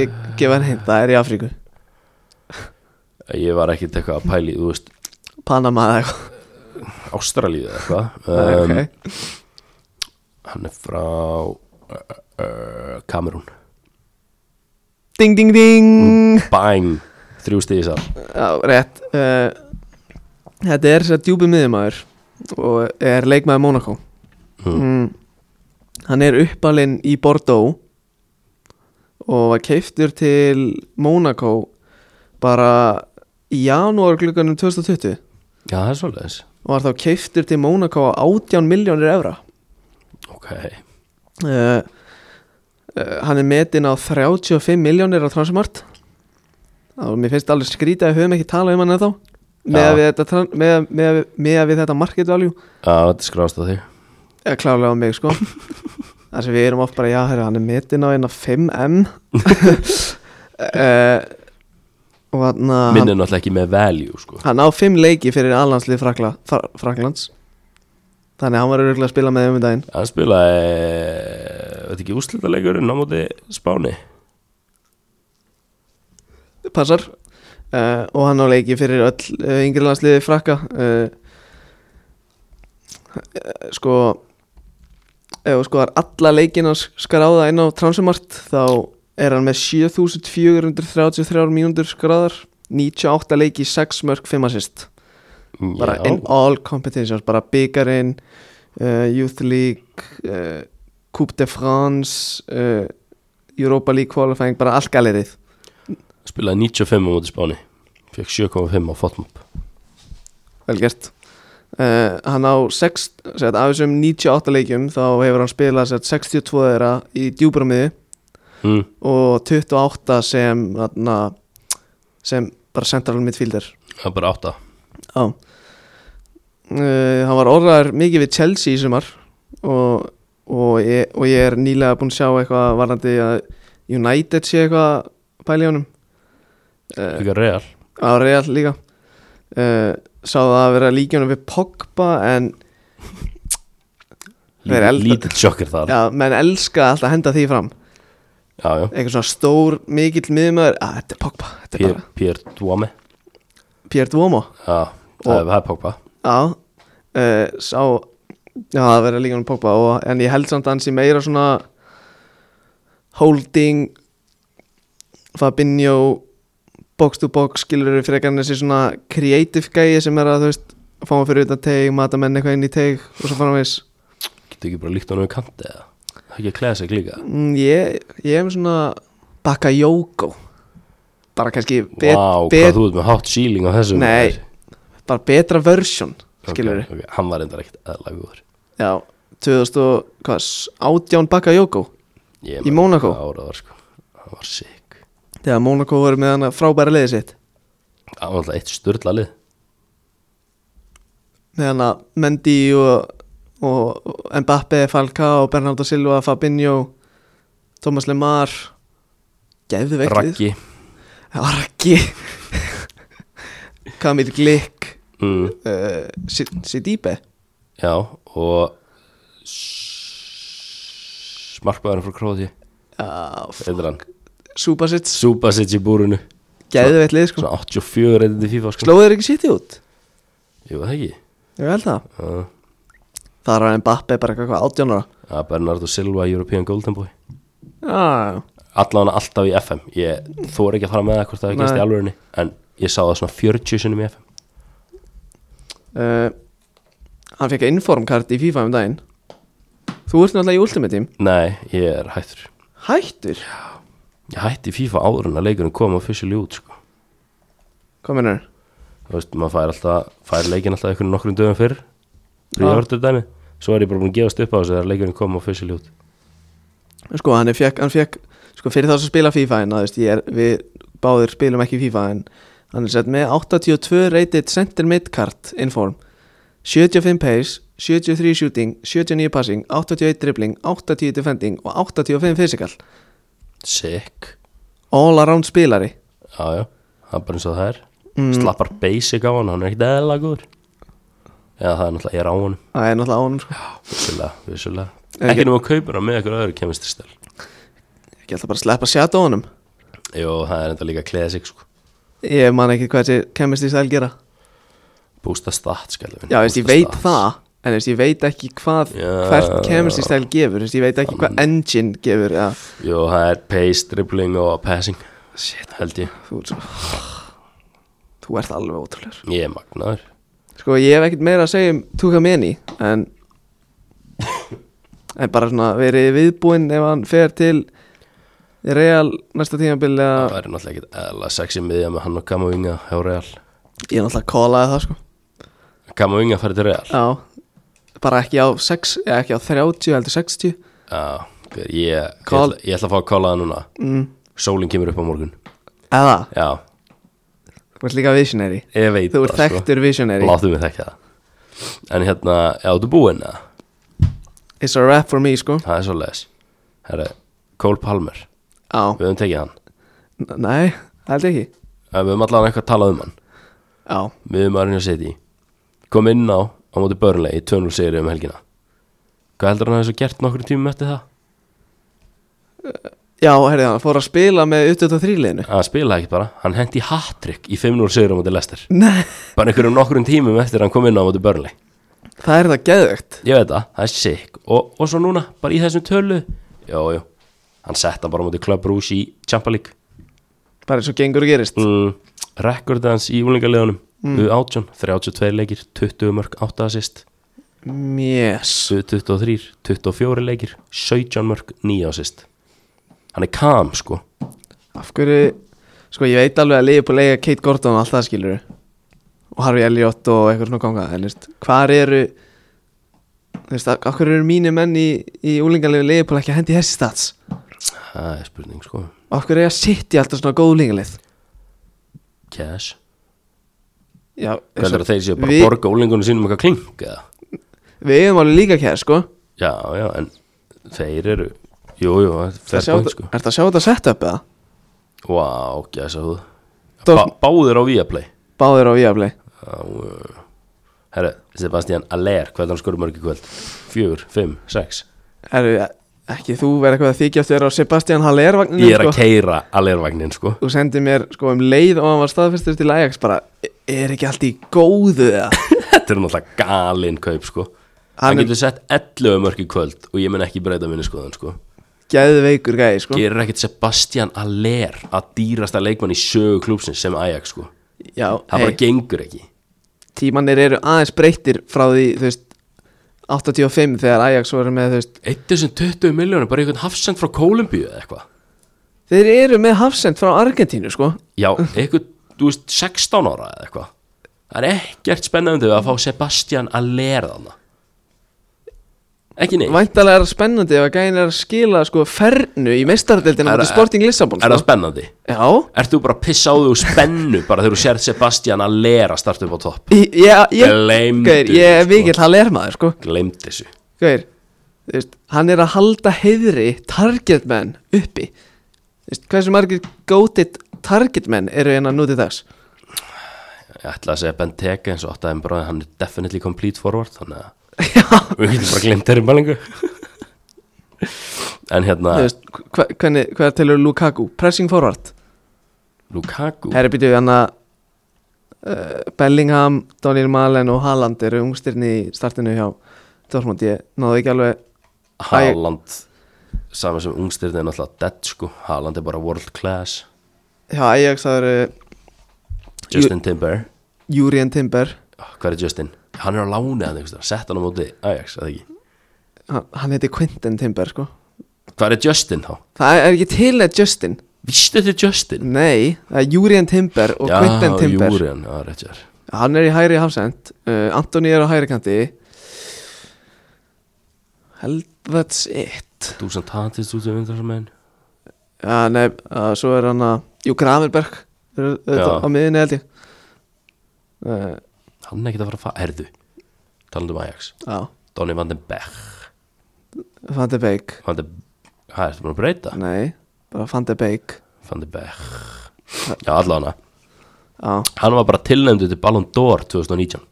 Speaker 1: Ég gefa hann hinn, það er í Afríku
Speaker 2: Ég var ekkit eitthvað að pæli Þú veist,
Speaker 1: Panama eða eitthvað
Speaker 2: Ástralíu eða eitthvað
Speaker 1: um,
Speaker 2: um,
Speaker 1: okay.
Speaker 2: Hann er frá uh, uh, Kamerún
Speaker 1: Ding ding ding
Speaker 2: Bang, þrjú stíði sá
Speaker 1: Já, rétt uh, Þetta er sér djúpi miðjumæður og er leikmaður Monaco
Speaker 2: Mm.
Speaker 1: mm. Hann er uppalinn í Bordeaux og var keiftur til Monaco bara í janúar um glukkanum 2020
Speaker 2: Já, það er svolítið
Speaker 1: og var þá keiftur til Monaco á 18 miljónir evra
Speaker 2: ok,
Speaker 1: uh, uh, hann er metinn á 35 miljónir á transmart og mér finnst alveg skrítið að við höfum ekki talað um hann ennþá með að við þetta, tran- með, með, með við þetta market value
Speaker 2: já, þetta skráðst á þig
Speaker 1: eða klálega á mig sko þar sem við erum oft bara já, herru, hann er metinn á eina 5M uh, og hann,
Speaker 2: minn
Speaker 1: hann,
Speaker 2: er náttúrulega ekki með value, sko
Speaker 1: hann á 5 leiki fyrir alhanslið Frakla, Fra- Fraklands þannig að hann var örgulega að spila með um í daginn
Speaker 2: hann spilaði, veit ekki, úrslitaleikurinn á móti Spáni
Speaker 1: passar uh, og hann á leiki fyrir öll uh, yngri landsliði frakka uh, uh, sko ef þú skoðar alla leikin að skráða inn á transumart þá er hann með 7433 mínútur skráðar 98 leiki, 6 mörg, 5 assist bara
Speaker 2: já,
Speaker 1: in all competitions bara byggarinn, uh, Youth League uh, Coupe de France uh, Europa League qualifying, bara allt galerið
Speaker 2: spilaði 95 á móti Spáni fekk 7,5 á Fotmop
Speaker 1: Vel gert uh, Hann á 6, set, af þessum 98 leikjum þá hefur hann spilað set, 62 þeirra í djúbramiði
Speaker 2: mm,
Speaker 1: og 28 sem þarna, sem bara central midfielder
Speaker 2: það er bara 8
Speaker 1: Já uh, Eh, Hann var orðaður mikið við Chelsea í sumar og, og, ég, og ég er nýlega búinn að sjá eitthvað varandi að United sé eitthvað pæli honum uh,
Speaker 2: líka real
Speaker 1: á Real líka uh, sá það að vera líkjónum við Pogba en Þeir eru eldri.
Speaker 2: lítill sjokkir þar já,
Speaker 1: já, menn elska alltaf að henda því fram
Speaker 2: já,
Speaker 1: eitthvað svona stór, mikill miðumöður að þetta er Pogba, þetta er
Speaker 2: Pierre,
Speaker 1: bara
Speaker 2: Pierre Duame
Speaker 1: Pierre Duomo
Speaker 2: já,
Speaker 1: Og-
Speaker 2: það er- það er Pogba
Speaker 1: já, uh, sá já, það vera líkjónum við Pogba og, en ég held samt að hans í meira svona holding Fabinho box to box skilur við frekar en þessi svona creative gæi sem er að þú veist fá hann fyrir utan teig, mata menn eitthvað inn í teig og svo framvegis
Speaker 2: getur ekki bara líkt á náðu kanti eða það er ekki að klæða sig líka
Speaker 1: Mm, ég, ég hef svona bakayoko bara kannski bet,
Speaker 2: Vá,
Speaker 1: bet,
Speaker 2: hvað þú ert með hot ceiling á þessum
Speaker 1: Nei, bara betra versjón skilur
Speaker 2: okay, okay. Hann var reyndar ekkert aðlega góður
Speaker 1: já, 2018 bakayoko
Speaker 2: Ég
Speaker 1: Í
Speaker 2: man
Speaker 1: Mónakó?
Speaker 2: hvað árið var, sko. Hann var sick
Speaker 1: þegar Monaco voru með hana frábæra leiði sitt
Speaker 2: Það var alltaf eitt störla lið
Speaker 1: með hana Mendy og, og Mbappe, Falcao, Bernardo Silva Fabinho, Thomas Lemar gefðu veiklið
Speaker 2: Raggi
Speaker 1: Raggi (laughs) Kamil Glick
Speaker 2: mm,
Speaker 1: uh, Sidibe
Speaker 2: Já og s- Markmaðurinn frá Króti
Speaker 1: Já,
Speaker 2: Þetta er hann
Speaker 1: Subasic
Speaker 2: Subasic í búrunu
Speaker 1: Gæðveitt lið sko
Speaker 2: Svona 84 reyndið FIFA sko
Speaker 1: Slóðu þeir ekki sitt í út?
Speaker 2: Jú það ekki
Speaker 1: Ég held það
Speaker 2: Já,
Speaker 1: Það er Mbappe bara eitthvað átjónara
Speaker 2: Já, Bernardo Silva European Golden Boy
Speaker 1: Já,
Speaker 2: Allan alltaf í FM Ég þóra ekki að fara með það hvort það hefði gerst í
Speaker 1: Nei.
Speaker 2: alvörinni En ég sá það svona 40 sinni í FM
Speaker 1: já uh, Hann fekk informkart í FIFA um daginn Þú ert náttúrulega í Ultimate Team
Speaker 2: Nei, ég er hættur
Speaker 1: Hættur?
Speaker 2: Ég hætti FIFA áður en að leikurinn kom officially út sko.
Speaker 1: Hvað mennur?
Speaker 2: Þú veist, maður fær, alltaf, fær leikin alltaf einhvern nokkrum dögum fyrr Príðhörtur dæmi Svo er ég bara búin að gefast upp á þessu þegar leikurinn kom officially út
Speaker 1: Sko, hann fekk, hann fekk Sko, fyrir þá sem spila FIFA en að, veist, ég er, Við báðir spilum ekki FIFA en Hann er sett með 82 rated center mid kart inform 75 pace 73 shooting, 79 passing 81 dribbling, 80 defending og 85 physical
Speaker 2: Sick
Speaker 1: all around spilari
Speaker 2: Já, já, það er bara eins og það er
Speaker 1: Mm.
Speaker 2: Slappar basic á hann, hann er ekkert eðla góður Já, það er náttúrulega, ég er á hann
Speaker 1: það er náttúrulega ánum sko
Speaker 2: Vissulega, vissulega
Speaker 1: En
Speaker 2: Ekki
Speaker 1: ég-
Speaker 2: nema að kaupa hann með eitthvað öðru kemistristel
Speaker 1: ég ætla bara að sleppa sjata á honum
Speaker 2: Jó, það er enda líka að kleða sig sko
Speaker 1: ég man ekki hvað þessi kemist í stæl gera
Speaker 2: Bústa stat, skallum
Speaker 1: já veist ég veit það en veist ég veit ekki hvað
Speaker 2: Já.
Speaker 1: hvert kemist í stæl gefur veist ég veit ekki hvað engine gefur já.
Speaker 2: Jó, það er pace, dribbling og passing Shit, held ég
Speaker 1: þú ert svo þú ert alveg ótrúlegur
Speaker 2: Ég er magnaður
Speaker 1: sko ég hef ekkert meira að segja um Tuka Meni en en bara svona verið viðbúinn ef hann fer til Real næsta tímabil
Speaker 2: Það
Speaker 1: eða
Speaker 2: væri náttúrulega ekkert eðla sexy miðja með hann og Kamavinga hjá Real
Speaker 1: ég náttúrulega kólaði það sko
Speaker 2: Kamavinga farið til Real
Speaker 1: Já, bara ekki á, 6, eða ekki á 30 heldur 60
Speaker 2: Já, hver, ég, ég,
Speaker 1: Call.
Speaker 2: ætla, ég ætla að fá að kalla það núna
Speaker 1: mm.
Speaker 2: Sólin kemur upp á morgun
Speaker 1: eða,
Speaker 2: Já,
Speaker 1: þú ert líka visionary
Speaker 2: ég veit
Speaker 1: þú ert
Speaker 2: það, sko.
Speaker 1: þekktur visionary
Speaker 2: Láttu mig þekka það En hérna, já, þú búinn eða?
Speaker 1: it's a wrap for me sko
Speaker 2: Það er svo les Herra, Cole Palmer,
Speaker 1: á,
Speaker 2: við höfum tekið hann
Speaker 1: n- nei, held ekki
Speaker 2: En Við höfum allavega eitthvað að tala um hann
Speaker 1: á,
Speaker 2: Við höfum að reyna að setja í Kom inn á, á móti börnlega í 2-0 sigri um helgina Hvað heldur hann að þessu gert nokkrum tímum eftir það?
Speaker 1: já, herrið hann fór að spila með 23 liðinu
Speaker 2: Hann spilaði ekkert bara, hann hendi hat-trick í 5-0 sigri á móti lester
Speaker 1: nei,
Speaker 2: Bara einhverjum nokkrum tímum eftir að hann kom inn á á móti börnlega
Speaker 1: það er það geðvögt
Speaker 2: Ég veit það, það er sick og, og svo núna, bara í þessum tölu Jó, jú, hann sett hann bara á móti Club Rouge í Champa League
Speaker 1: bara eins og gengur og gerist
Speaker 2: mm, Rekord hans í úlingaliðunum mm. U18, 32 leikir, 20 mörg, 8 assist
Speaker 1: yes,
Speaker 2: U23, 24 leikir 17 mörg, 9 assist Hann er kam, sko
Speaker 1: af hverju sko, ég veit alveg að liði búið að lega Kate Gordon og allt það skilur og Harvey Elliot og eitthvað svona ganga en veist, hvar eru þú veist, af af hverju eru mínu menn í, í úlingalegu liðbúl ekki að hendi þessi stats
Speaker 2: Það er spurning, sko
Speaker 1: af hverju er að sitja alltaf svona góð úlingalið
Speaker 2: Cash
Speaker 1: já,
Speaker 2: Hvað er að þeir séu bara
Speaker 1: við,
Speaker 2: að borga úlingunum sínum eitthvað klink, eða?
Speaker 1: við eigum alveg líka kæð sko
Speaker 2: Já, já, en þeir eru Jú, jú, það
Speaker 1: er
Speaker 2: er bóð, sko
Speaker 1: þetta að sjá þetta sett upp eða
Speaker 2: Vá, wow, gæsa húð
Speaker 1: Dó-
Speaker 2: ba Báður á Viaplay
Speaker 1: báðir á viðafli
Speaker 2: Á, uh, Herra, Sebastian Aller Hvað er hann skorur mörg í kvöld? Fjögur, fimm, sex
Speaker 1: eru ekki þú verið eitthvað að þykja þér á Sebastian Haller vagninu
Speaker 2: Ég er að
Speaker 1: sko.
Speaker 2: keira Allervagnin,
Speaker 1: (laughs)
Speaker 2: sko
Speaker 1: þú sendið mér sko um leið og hann var staðfestur til Ajax bara er ekki allt í góðu
Speaker 2: (laughs)
Speaker 1: eða
Speaker 2: Þetta er náttúrulega galin kaup, sko
Speaker 1: Hann
Speaker 2: Hann
Speaker 1: er-
Speaker 2: getur sett 11 mörg í kvöld og ég mun ekki breyta minni skoðan, sko
Speaker 1: geðveikur gæði sko
Speaker 2: Gerir ekkert Sebastian Aller að dýrasta leikmann í sögu klúpsins sem Ajax, sko
Speaker 1: Já,
Speaker 2: Það
Speaker 1: hey,
Speaker 2: bara gengur ekki
Speaker 1: tímanir eru aðeins breyttir frá því, þú veist 85 þegar Ajax voru með, þú veist
Speaker 2: 1.020 miljónir, bara einhvern hafsend frá Kólumbíu eða eitthvað
Speaker 1: þeir eru með hafsend frá Argentínu, sko (laughs)
Speaker 2: Já, eitthvað, þú veist, 16 ára eða eitthvað Það er ekkert spennandi við að fá Sebastian að lera þarna Ekki neitt
Speaker 1: Væntalega er það spennandi ef að gæin er að skila sko fernu í meistardeldina
Speaker 2: Er-
Speaker 1: mútið Sporting Lissabon,
Speaker 2: Er það
Speaker 1: sko
Speaker 2: spennandi?
Speaker 1: Já,
Speaker 2: Ert þú bara að pissa á þig úr spennu bara þegar þú sér Sebastian að lera starta upp á topp?
Speaker 1: ég, ég, ég,
Speaker 2: Gleymdu
Speaker 1: gaur, ég er
Speaker 2: því, sko.
Speaker 1: mikill halermaður, sko
Speaker 2: Gleymd þessu
Speaker 1: Gaur, þú veist, hann er að halda heiðri targetmenn uppi Þú veist, hversu margir gótið targetmenn eru hérna nú til dags
Speaker 2: Ég ætla að segja Ben Teke eins og áttaðum bara hann er definitely complete forward þannig að
Speaker 1: Já
Speaker 2: við getum bara glemt þeirri mælingu En hérna,
Speaker 1: Þú veist, hva, hvernig, hvað telur Lukaku? Pressing forward
Speaker 2: Lukaku
Speaker 1: Herri býtu hann að uh, Bellingham, Daniel Malen og Haaland eru ungstirni í startinu hjá Dortmund, ég náðu ekki alveg
Speaker 2: Haaland saman sem ungstyrði er náttúrulega dead sko Haaland er bara world class
Speaker 1: hjá Ajax það eru
Speaker 2: Justin Timber
Speaker 1: Júrien Timber
Speaker 2: Ah, Hvað er Justin? Hann er á láni að einhverstað Sett hann á móti Ajax, að ekki
Speaker 1: hann, hann heiti Quinton Timber sko
Speaker 2: Hvað er Justin þá?
Speaker 1: það er ekki til neitt Justin
Speaker 2: Vistu þetta er Justin?
Speaker 1: nei, það er Júrien Timber og Quinton Timber
Speaker 2: Júrian, já, réttjar
Speaker 1: hann er í hægri hafsend uh, Antoni er á hægri kanti held that's it
Speaker 2: Þú sem tatist út sem vindar sem enn
Speaker 1: Já, nei, uh, svo er hann að Jú, Gravenberg er auðvitað
Speaker 2: Já.
Speaker 1: á miðinni held ég uh,
Speaker 2: Hann er ekkert að fara að fara Herðu Talandi um Ajax
Speaker 1: Já,
Speaker 2: Donny van den Beck
Speaker 1: Van de Beek
Speaker 2: Van den Hvað ertu búin að breyta?
Speaker 1: Nei, bara Van de Beek
Speaker 2: Van den Beck Já, allavega
Speaker 1: Já,
Speaker 2: Hann var bara tilnæmdu til Ballon d'Or 2019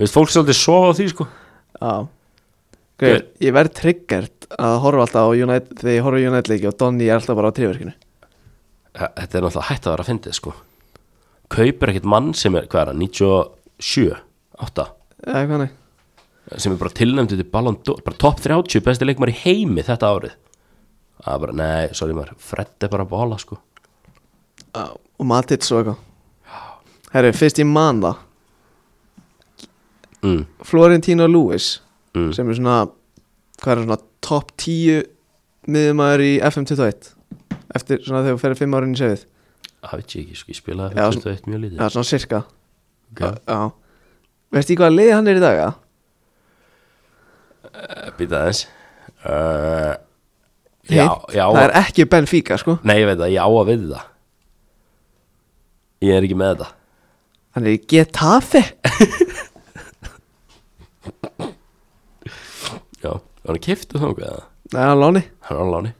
Speaker 2: Veist fólk svolítið sofa á því sko
Speaker 1: já Guður, ég verð triggert að horfa alltaf á United þegar ég horfa á United leiki og Donny er alltaf bara á tríverkinu
Speaker 2: Þa- þetta er náttúrulega hætt að vera að fyndið sko kaupir ekkert mann sem er, hvað er það, 97 8,
Speaker 1: Eða hvað nei
Speaker 2: sem er bara tilnæmdu til Ballon d'Or, bara topp 30 besti leikmar í heimi þetta árið það er bara, nei, sorry maður, Fred er bara að bóla sko,
Speaker 1: Já, og Matic og eitthvað Herru, fyrst ég man það
Speaker 2: mm,
Speaker 1: Florentino Lewis
Speaker 2: Mm.
Speaker 1: sem er svona, hvað er hann, svona top 10 miðumæður í FM21 eftir svona þegar þú ferði 5 árin í sefið
Speaker 2: það veit ég ekki sko, ég spilaði
Speaker 1: Já,
Speaker 2: fyrir 21 mjög lítið
Speaker 1: Já, svona cirka
Speaker 2: okay.
Speaker 1: Já Veist í hvaða liði hann er í dag, að?
Speaker 2: býta Eh, aðeins uh, já,
Speaker 1: Hitt.
Speaker 2: já,
Speaker 1: Það er ekki Benfica sko
Speaker 2: nei ég veit það, ég á að veit það ég er ekki með þetta
Speaker 1: Hann er í Getafe
Speaker 2: já, var hann kiftu þá eitthvað
Speaker 1: Það er á láni
Speaker 2: hann er á láni,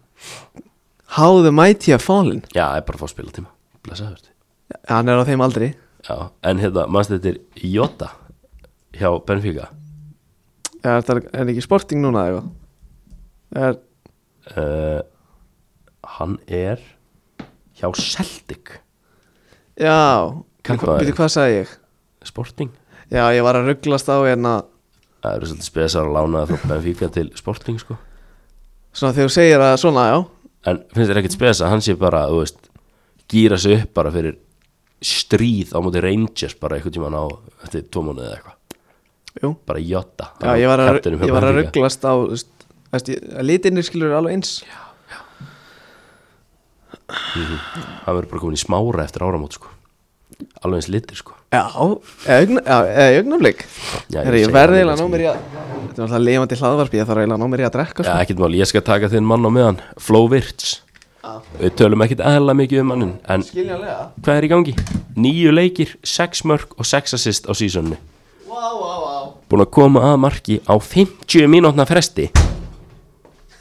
Speaker 1: How the mighty have fallen
Speaker 2: já, ég er bara að fá spila tíma blessa þurfti
Speaker 1: Hann er á þeim aldri
Speaker 2: já, en hérna, mannst þetta er Jota hjá Benfica
Speaker 1: Já, þetta er, er ekki sporting núna eða eitthvað er,
Speaker 2: uh, hann er hjá Celtic
Speaker 1: Já,
Speaker 2: Kanntu
Speaker 1: Hva-
Speaker 2: það?
Speaker 1: veitu hvað sagði ég?
Speaker 2: Sporting
Speaker 1: Já, ég var að rugglast á hérna
Speaker 2: það eru svolítið spesar að lána það frá Benfica til Sporting sko
Speaker 1: Svona þegar þú segir að svona, já
Speaker 2: en finnst þér ekkert spes að hann sé bara þú veist, gýra sig upp bara fyrir stríð á móti Rangers bara einhvern tímann á eftir tvo mánuði eða eitthvað
Speaker 1: Jú.
Speaker 2: bara jotta
Speaker 1: Já, ég var að, ég var að rugglast á þú veist, þú veist, ég- að litinir skilur alveg eins
Speaker 2: hann verður bara komin í smára eftir áramót sko alveg eins litir sko
Speaker 1: Já, eða augna- já, eða augnumlik
Speaker 2: Já, ég
Speaker 1: Herri, ég
Speaker 2: segi
Speaker 1: verði
Speaker 2: það
Speaker 1: eiginlega að
Speaker 2: líka, sko.
Speaker 1: ná mér í að Þetta er alltaf lifandi hlaðvarp Ég þarf eiginlega að ná mér í að drekka
Speaker 2: Já,
Speaker 1: sko.
Speaker 2: ekkert mál, ég skal taka þinn mann á meðan Flo Virts Við tölum ekkert aðla mikið um mannin En
Speaker 1: Skiljanlega
Speaker 2: hvað er í gangi? Níu leikir, sex mörg og sex assist á sísonni
Speaker 1: Vá, vá, vá
Speaker 2: Búin að koma að marki á 50 mínútna fresti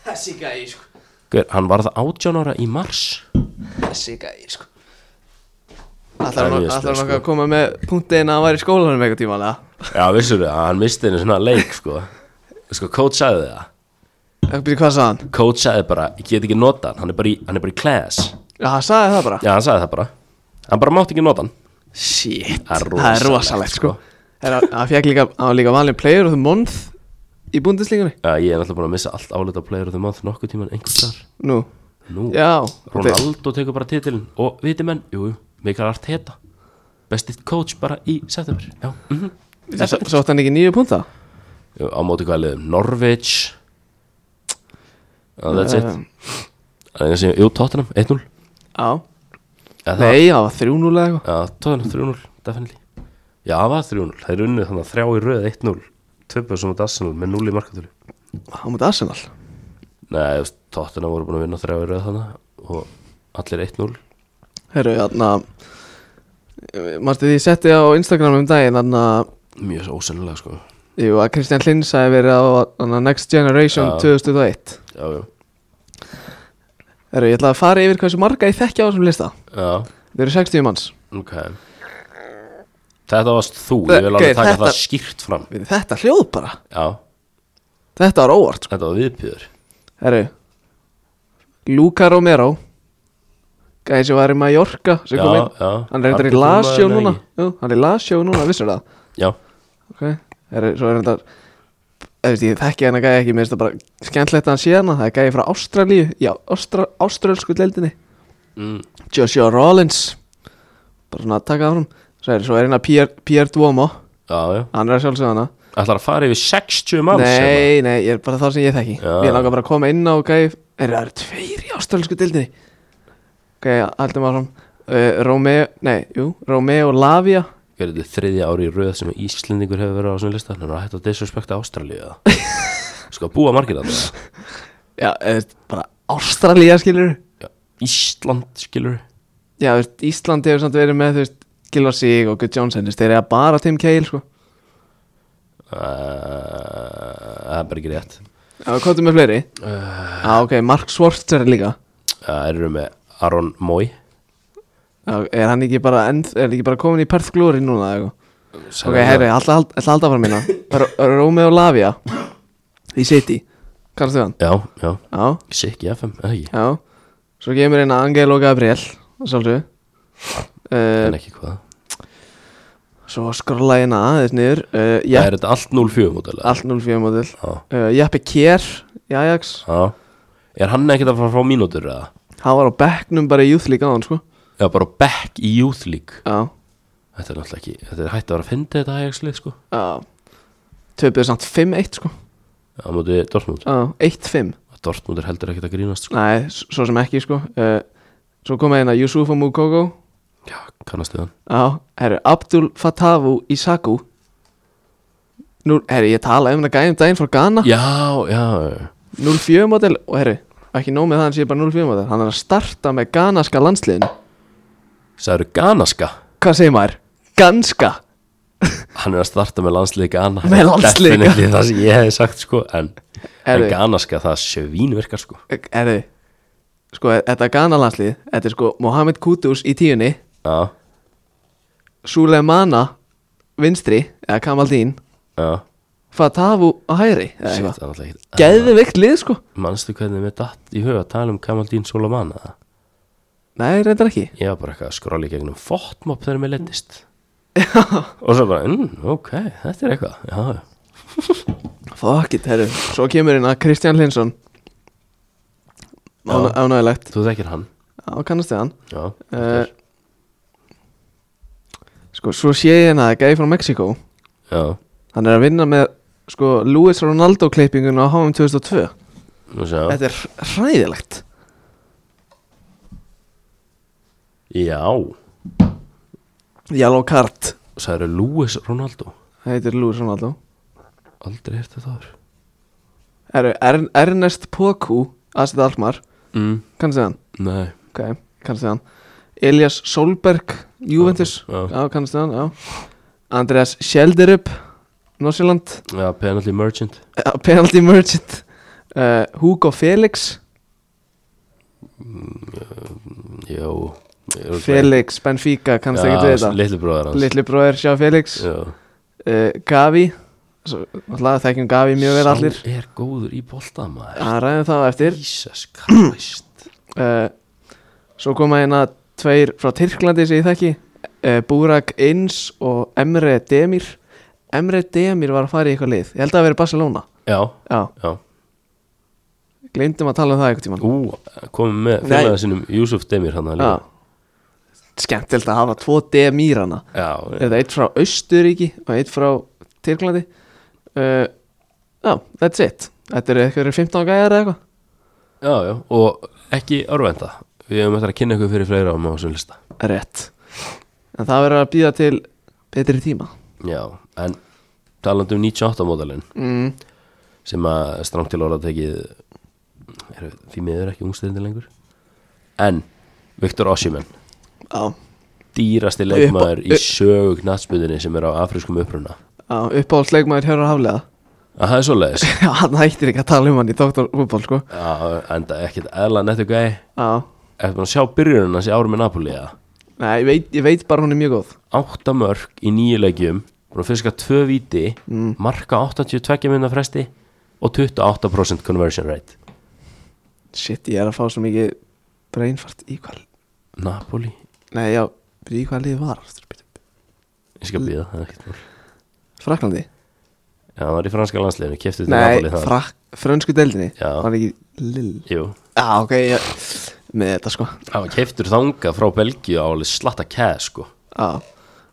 Speaker 1: Þessi gæi, sko
Speaker 2: Hver, hann var það 18 ára í mars
Speaker 1: Þessi gæi, sko
Speaker 2: Það er
Speaker 1: Ætlar hann
Speaker 2: mjög sko.
Speaker 1: ætlar hann
Speaker 2: slös,
Speaker 1: okkar að koma með punktin að hann var í skólanum eitthvað tíma alveg
Speaker 2: Já, vissur þau, hann misti einu svona leik sko Sko, coach sagði það
Speaker 1: Ekki byrja hvað sagði hann?
Speaker 2: Coach sagði bara, ég get ekki nota hann Hann er bara í, hann er bara í class
Speaker 1: Já, hann sagði það bara
Speaker 2: Já, hann sagði það bara Hann bara mátti ekki nota hann
Speaker 1: Shit,
Speaker 2: Það
Speaker 1: það
Speaker 2: er
Speaker 1: er
Speaker 2: rosalegt,
Speaker 1: rosalegt, sko
Speaker 2: sko.
Speaker 1: Herra, Hann fekk líka, hann var líka valin player of the month Í búndislíkunni
Speaker 2: Já, ég er náttúrulega búin að missa allt álita player of the month nokkuð tíman einhvers þar
Speaker 1: Nú,
Speaker 2: Nú,
Speaker 1: já þetta-
Speaker 2: Ronaldo tekur bara titilin og viti menn, jú, jú, Mikael Arteta bestið coach bara í september já, mm
Speaker 1: Sá- Sátt hann ekki nýju punta?
Speaker 2: á móti hvað liðum, Norwich uh, that's it
Speaker 1: Um,
Speaker 2: það er sem, jú, Tottenham, 1-0
Speaker 1: Já
Speaker 2: Já, það-
Speaker 1: Nei, það var 3-0 eða eitthvað
Speaker 2: já, Tottenham 3-0, definitely já, það var 3-0, þeir unnið þannig að þrjá í röð 1-0, tvöpað sem að Arsenal með 0 í markatölu
Speaker 1: Hann mútið Arsenal
Speaker 2: nei, þú veist, Tottenham voru búin að vinna þrjá í röð þannig og allir 1-0
Speaker 1: Herru, þarna Martið, ég setti á Instagram um daginn Þarna,
Speaker 2: mjög svo ósennilega, sko
Speaker 1: jú, að Kristján Lins hafi verið á þarna, Next Generation
Speaker 2: Já.
Speaker 1: 2001
Speaker 2: já, já,
Speaker 1: Herru, ég ætla að fara yfir hversu marga ég þekki á þessum lista
Speaker 2: já
Speaker 1: Þeir eru 60 manns
Speaker 2: Ok Þetta varst þú, ég vil alveg
Speaker 1: Ok,
Speaker 2: taka
Speaker 1: þetta-
Speaker 2: það skýrt fram
Speaker 1: Við þetta hljóð bara
Speaker 2: Já,
Speaker 1: Þetta var óvart sko.
Speaker 2: þetta var viðpjöður
Speaker 1: Herru Luca Romero Gæði sem var í Mallorca sem
Speaker 2: Já,
Speaker 1: kom inn.
Speaker 2: já
Speaker 1: Hann er reyndar í
Speaker 2: Argentínu
Speaker 1: Lazio
Speaker 2: maður,
Speaker 1: núna
Speaker 2: nei.
Speaker 1: Jú, hann er í Lazio núna, vissir það
Speaker 2: Já,
Speaker 1: Ok, er, svo er þetta Þú veist, ég þekki hann að gæja ekki, mér finnst það bara skemmtilegt að hann sé hana, það er gæja frá Ástralíu, já, Ástra, ástralsku deildinni,
Speaker 2: mm,
Speaker 1: Joshua Rollins, bara svona að taka af hann, svo er, svo er hérna Pierre, Pierre Duomo,
Speaker 2: já, já
Speaker 1: hann er að sjálfsögða hana,
Speaker 2: Ætlar að fara yfir 60 manns hérna?
Speaker 1: nei, nei, ég er bara það sem ég þekki,
Speaker 2: Já.
Speaker 1: ég langar bara að koma inn á gæja, er það eru tveir í ástralsku deildinni, ok, haldum að hann, uh, Romeo, nei, jú, Romeo Lavia,
Speaker 2: Hver er þetta þriðja ári í röð sem Íslendingur hefur verið á svona lista Þannig að hætta að disrespekta Ástralíu eða?
Speaker 1: (laughs)
Speaker 2: Sko að búa margir að það
Speaker 1: já, eða, bara Ástralía skilur,
Speaker 2: Ísland, skilur
Speaker 1: Já, þú veist, Ísland hefur samt verið með, þú veist, Gilvar Sig og Guð Jónsson, þú veist, þeir eru bara Tim Cahill, sko.
Speaker 2: Uh, Það er bara ekki rétt
Speaker 1: Já, við komum með fleiri. Já,
Speaker 2: Eh.
Speaker 1: ok, Mark Schwarzer líka.
Speaker 2: Það eru með Aron Mói
Speaker 1: Já, er hann ekki bara, enn- er hann ekki bara komin í Perth Glory núna, eða eitthvað? Ok, herri, alltaf hald, alltaf hald áfram hérna. minna. Rómeo Lavia í City, kannast þau hann?
Speaker 2: Já, já
Speaker 1: Já,
Speaker 2: Sikki FM, eða ekki
Speaker 1: já. Svo kemur inn Angel og Gabriel, svolítið. Uh,
Speaker 2: En ekki hvað
Speaker 1: svo skrolla ég inn aðeins niður. Uh,
Speaker 2: Það
Speaker 1: ja,
Speaker 2: er þetta allt 0-4 mótilega
Speaker 1: allt 04 model.
Speaker 2: Já
Speaker 1: Uh, Jeppe Kjær í Ajax.
Speaker 2: Já Er hann ekkert að fara frá mínútur eða?
Speaker 1: Hann var á bekknum bara í júþlík á hann sko
Speaker 2: Já, bara back í Youth League
Speaker 1: Já,
Speaker 2: Þetta er náttúrulega ekki Þetta er hægt að vera að fyndi þetta hægslið sko
Speaker 1: já Töpuðu samt 5-1 sko
Speaker 2: Já, á móti Dortmund
Speaker 1: Já, 1-5
Speaker 2: Dortmund er heldur ekkert að grínast sko
Speaker 1: Nei, s- svo sem ekki sko uh, Svo komaði hérna Yusufa Mukoko
Speaker 2: Já, kannast við hann
Speaker 1: Já, herru, Abdul Fatavu Isaku Nú, herri, ég tala um þetta gæðum daginn frá Ghana
Speaker 2: Já, já, já
Speaker 1: 04 model og herri, ekki nóg með það hann sé bara 04 model hann er að starta með ganaska landsliðin
Speaker 2: Sæður Ganaska
Speaker 1: hvað segir maður? Ganska
Speaker 2: Hann er að starta með landsliði Gana
Speaker 1: Með landsliði Ghana.
Speaker 2: Definitely (laughs) Það sem ég hefði sagt sko En, en
Speaker 1: Herri.
Speaker 2: Ganaska það svínverkar sko
Speaker 1: herri, eh, sko þetta Ghana landslið þetta er sko Mohamed Kudus í tíunni
Speaker 2: Já,
Speaker 1: Suleimana vinstri eða Kamaldín
Speaker 2: já
Speaker 1: Fatavu á hægri eða
Speaker 2: Shit,
Speaker 1: eitthvað.
Speaker 2: það er náttúrulega ekkert-
Speaker 1: geðveikt lið sko
Speaker 2: Manstu hvernig við datt í huga að tala um Kamaldín Soloman eða?
Speaker 1: nei, reyndar ekki
Speaker 2: Ég var bara eitthvað að skróla í gegnum fotmop þegar mér leittist Og svo bara, mm, ok, þetta er eitthvað Já,
Speaker 1: fuck it, herri svo kemur inn að Kristján Linsson
Speaker 2: Já.
Speaker 1: ánægilegt
Speaker 2: þú þekkir hann
Speaker 1: á kannast við hann
Speaker 2: Já,
Speaker 1: Eh,
Speaker 2: þetta er-
Speaker 1: sko, svo sé ég hérna að gæði frá Mexiko
Speaker 2: já
Speaker 1: Hann er að vinna með sko Luis Ronaldo klippingun á HM 2002
Speaker 2: Nú sjá
Speaker 1: Þetta er hr- hræðilegt
Speaker 2: Já,
Speaker 1: Yellow card
Speaker 2: sæður Lewis Ronaldo
Speaker 1: Það heitir Luis Ronaldo
Speaker 2: Aldrei eftir það áður.
Speaker 1: Eru, er, Ernest Poku Asit Almar,
Speaker 2: mm.
Speaker 1: kannski hann
Speaker 2: Nei
Speaker 1: Ok, kannski hann Elias Solberg, Juventus
Speaker 2: Já.
Speaker 1: Já, kannski hann, já Andreas Sjelderup, Norsjöland
Speaker 2: Já, penalty merchant
Speaker 1: Penalty Merchant uh, Hugo Felix
Speaker 2: Jó Uruguay.
Speaker 1: Felix Benfica, kannski
Speaker 2: Já,
Speaker 1: ekki við þetta
Speaker 2: Litli bróðar hans
Speaker 1: Litli bróðir sjá Felix
Speaker 2: Já.
Speaker 1: uh, Gavi Svo, Alltaf þekkjum Gavi mjög vel allir
Speaker 2: Sá er góður í boltamaður
Speaker 1: Það ræðum það á eftir
Speaker 2: (clears throat) Jesus Christ
Speaker 1: uh, Svo koma hérna tveir frá Tyrklandi sem ég þekki uh, Burak Inns og Emre Demir Emre Demir var að fara í eitthvað lið Ég held að það veri Barcelona
Speaker 2: Já,
Speaker 1: Já,
Speaker 2: já
Speaker 1: gleymdum að tala um það einhvern tímann
Speaker 2: Ú, komum með
Speaker 1: Nei.
Speaker 2: félaga sinum Júsuf Demir hann að
Speaker 1: Já
Speaker 2: líka
Speaker 1: Skemmtilegt að hafa tvo Demirana
Speaker 2: Já,
Speaker 1: Þetta er eitt frá Austuríki og eitt frá Tyrklandi uh, Já, that's it Þetta eru eitthvað 15 gæjar eða eitthvað
Speaker 2: já, já Og ekki árvenda Við hefum eftir að kynna ykkur fyrir fleira á másum lista
Speaker 1: Rétt En það verður að býða til betri tíma
Speaker 2: Já, en talandi um 98 módalinn
Speaker 1: mm.
Speaker 2: sem að strangt til orða tekið er, því miður ekki ungstæðindir lengur en Viktor Ossiman
Speaker 1: Á,
Speaker 2: dýrasti leikmaður í sögu knattspundinni sem er á afrískum uppruna
Speaker 1: á uppáhaldsleikmaður hér á (laughs) haflega
Speaker 2: að það er svoleiðis
Speaker 1: Hann hættir ekki að tala um hann í doktorfútból sko
Speaker 2: Já, enda ekkert eðla nettu gæ
Speaker 1: Á,
Speaker 2: eftir búin að sjá byrjunum hans í árum með Napoli eða?
Speaker 1: nei, ég veit, ég veit bara hún er mjög góð
Speaker 2: átta mörg í nýju leikjum búin að fiska tvö viti marka 82 minna fresti og 28% conversion rate
Speaker 1: Shit, ég er að fá svo mikið breinfart í hvað
Speaker 2: Napoli,
Speaker 1: Nei, já, í hvað liðið var aftur, bíddu.
Speaker 2: ég skal býða það er ekkert mál
Speaker 1: Fraklandi?
Speaker 2: Já, það var í franska landsliðinu, keftið til
Speaker 1: Nei,
Speaker 2: Napoli það
Speaker 1: frak, frönsku deldinni
Speaker 2: Já.
Speaker 1: Var ekki lill
Speaker 2: Jú,
Speaker 1: Já, ok, já, með þetta sko
Speaker 2: Það var keiftur þanga frá Belgíu á alveg slatta kæð sko
Speaker 1: Á,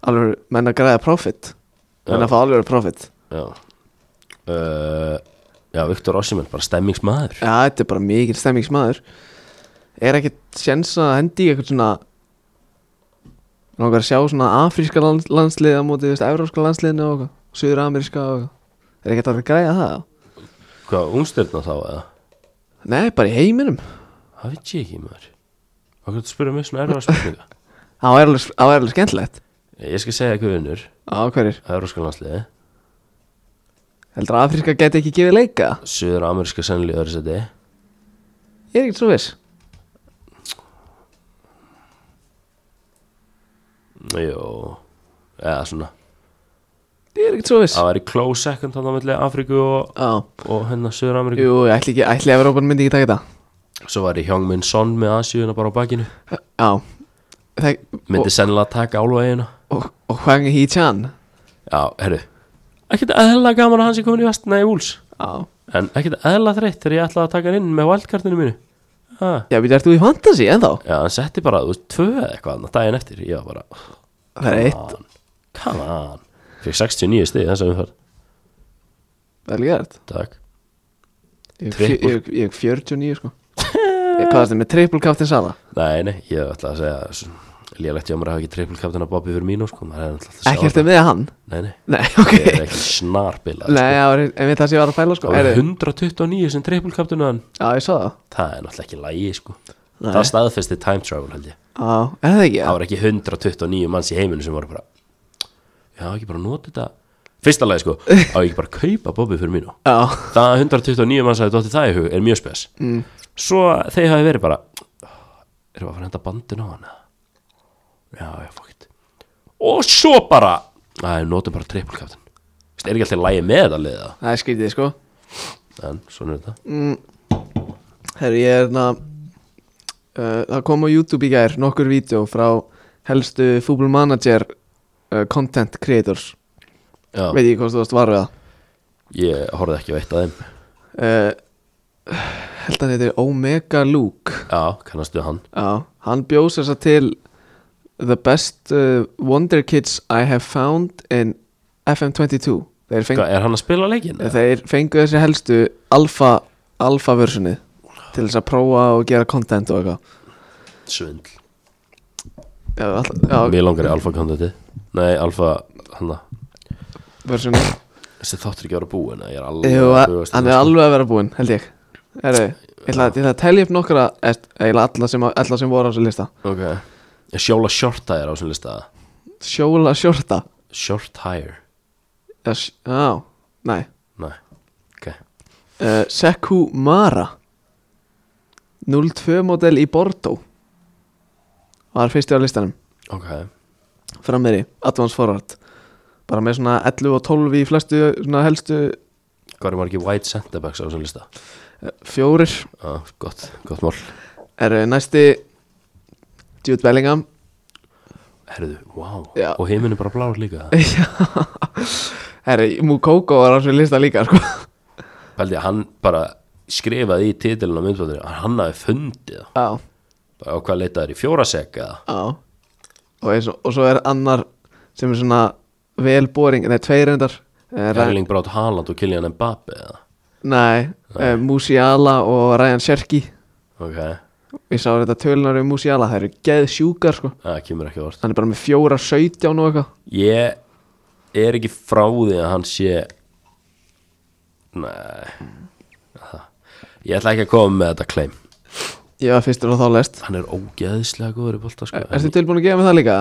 Speaker 1: alveg menn að græða profit Menn
Speaker 2: Já.
Speaker 1: að fá alveg profit
Speaker 2: Já uh, Já, Viktor Ossimann, bara stemmingsmaður
Speaker 1: Já, þetta er bara mikil stemmingsmaður Er ekkert sjens að hendi í eitthvað svona Nókar að sjá svona afríska lands, landslið á móti, veist, evróska landsliðinu og eitthvað Suður-ameríska og eitthvað Er ekkert að græja það?
Speaker 2: Hvað, ungstyrna þá eða?
Speaker 1: Nei, bara í heiminum
Speaker 2: Það veit ég ekki maður Hvað kanntu að spyrja mig svona erfa spurninga?
Speaker 1: Það er alveg, það er alveg skemmtilegt
Speaker 2: (laughs) Ég skal segja eitthvað vinnur
Speaker 1: Á, hverjir?
Speaker 2: Euróska landsliði
Speaker 1: Heldur að afríska geti ekki gefið leika?
Speaker 2: Suður ameríska sennilið öðru seti
Speaker 1: Ég er ekkert svo viss
Speaker 2: Jó Eða svona
Speaker 1: Ég er ekkert svo viss
Speaker 2: Það var í close second þannig að milli Afríku og,
Speaker 1: Á,
Speaker 2: og hennar Suður Ameríku
Speaker 1: jú, ég ætli ekki, ætli að Evrópan myndi ekki taka þetta
Speaker 2: Svo var í Hjóng minn sonn með Asíuna bara á bakinu
Speaker 1: Já Þeg,
Speaker 2: Myndi sennilega taka álvaðina
Speaker 1: og, og, og Hwang Hee-chan
Speaker 2: Já, herru Ekkert eðla gaman að hann sé komin í vestina í Úls
Speaker 1: Já
Speaker 2: En ekkert eðla þreytt þegar ég ætlaði að taka hann inn með wildcardinu mínu ha.
Speaker 1: Já, við ert þú í fantasy ennþá?
Speaker 2: Já, hann setti bara, þú veist, tvö eða eitthvað þarna daginn eftir Ég var bara,
Speaker 1: Það er eitt,
Speaker 2: on, come on Fikk 69 stig þess að umfært
Speaker 1: vel gert
Speaker 2: Takk
Speaker 1: Ég er fjö-
Speaker 2: Triple.
Speaker 1: ég- ég er
Speaker 2: (laughs)
Speaker 1: 49 sko Ég- Hvað er þetta með triple captain sala?
Speaker 2: Nei, nei, ég ætla að segja lélegt hjá mér að hafa ekki triple captain að Bobby fyrir mínu sko, maður hefði náttúrulega
Speaker 1: Ekki
Speaker 2: alltaf
Speaker 1: eftir með hann?
Speaker 2: Nei, nei,
Speaker 1: Nei, ok
Speaker 2: ég er
Speaker 1: (laughs)
Speaker 2: ekki snarbilað
Speaker 1: um- Nei,
Speaker 2: sko.
Speaker 1: já, en við það sem ég var að pæla sko
Speaker 2: Það var
Speaker 1: Heyrðu,
Speaker 2: 129 sem triple captain að hann
Speaker 1: Já, ég svo það
Speaker 2: Það er náttúrulega ekki lægi sko
Speaker 1: Nei.
Speaker 2: Það staðfesti time travel held ég
Speaker 1: Já, er það ekki? Já,
Speaker 2: Það var ekki 129 manns í heiminu sem voru bara Já, ekki bara nota þetta Fyrsta lagi sko, á ekki bara að kaupa Bobby fyrir mínu
Speaker 1: já,
Speaker 2: Það að 129 manns að dotti það í hug er mjög spes
Speaker 1: Mm.
Speaker 2: Svo þeir hafi verið bara Erum við að fara að henda bandin á hana? Já, já, fókitt Og svo bara Æ, notum bara triple captain Vist, Er ekki alltaf lægi með að liða
Speaker 1: það er skrítið sko
Speaker 2: En svona er þetta
Speaker 1: Herru, ég er hérna uh, Það kom á YouTube í gær nokkur vídeo frá helstu Football Manager uh, content creators
Speaker 2: Já,
Speaker 1: Veit ég hvað þú varst var við það
Speaker 2: ég horfði ekki veitt að þeim
Speaker 1: uh, (sighs) Held að hann heitir Omega Luke
Speaker 2: Já, kannastu við hann
Speaker 1: Já, hann bjóð sér svo til The best uh, wonder kids I have found in FM22 Þeir, feng,
Speaker 2: Hva, Er hann að spila leikinn?
Speaker 1: þeir fengu þessi helstu alfa, alfa versjoni til þess að prófa og gera content og eitthvað
Speaker 2: Svindl
Speaker 1: Já, all, já
Speaker 2: Mér langar í alfa kandidati Nei, alfa, hann það
Speaker 1: versjoni
Speaker 2: Þessi þáttur ekki að vera búin eða Ég er alveg
Speaker 1: Jú,
Speaker 2: að bugast í
Speaker 1: hann er
Speaker 2: þessu.
Speaker 1: alveg að vera búinn, held ég Heru, Ég ætla ég ætla að telja upp nokkra eða alla sem, alla sem voru á þessu lista
Speaker 2: Ok Ég Sjóla Shorta er á sem lista
Speaker 1: Sjóla Sjórta
Speaker 2: Short Hire
Speaker 1: Já, sj- já, nei
Speaker 2: Nei, ok
Speaker 1: uh, Seku Mara 02 model í Bordeaux var fyrsti á listanum
Speaker 2: Ok
Speaker 1: frammeiri, Advance Forward bara með svona 11 og 12 í flestu svona helstu eh,
Speaker 2: Hvað eru margir white centerbacks á sem lista?
Speaker 1: fjórir
Speaker 2: Já, gott, gott mál
Speaker 1: er uh, næsti Jude Bellingham
Speaker 2: Herðu, wow
Speaker 1: Já.
Speaker 2: Og heiminn er bara blár líka
Speaker 1: er Mukoko var á þessu lista líka sko.
Speaker 2: Pældi, hann bara skrifaði í titilin á myndbandinu að Hann hafi fundið það.
Speaker 1: já,
Speaker 2: Bara á hvað leitaður í fjóra sekk eða
Speaker 1: já og, eins, og- og svo er annar sem er svona vel boring, nei tveir reyndar Eh, Ra-
Speaker 2: Erling Brátt Haaland og Kylian Mbappe eða
Speaker 1: nei, nei. Musiala og Ryan Sherky
Speaker 2: Ok,
Speaker 1: Ég sá þetta tölunar um Musiala, það eru geð sjúkar sko
Speaker 2: það kemur ekki á orð
Speaker 1: Hann er bara með fjóra 17 og eitthvað
Speaker 2: Ég er ekki frá því að hann sé Nei Það- Ég ætla ekki að koma með þetta claim
Speaker 1: Ég var fyrstur á þá lest
Speaker 2: Hann er ógeðislega góður í bolta sko.
Speaker 1: Ertu tilbúin að gefa mig það líka?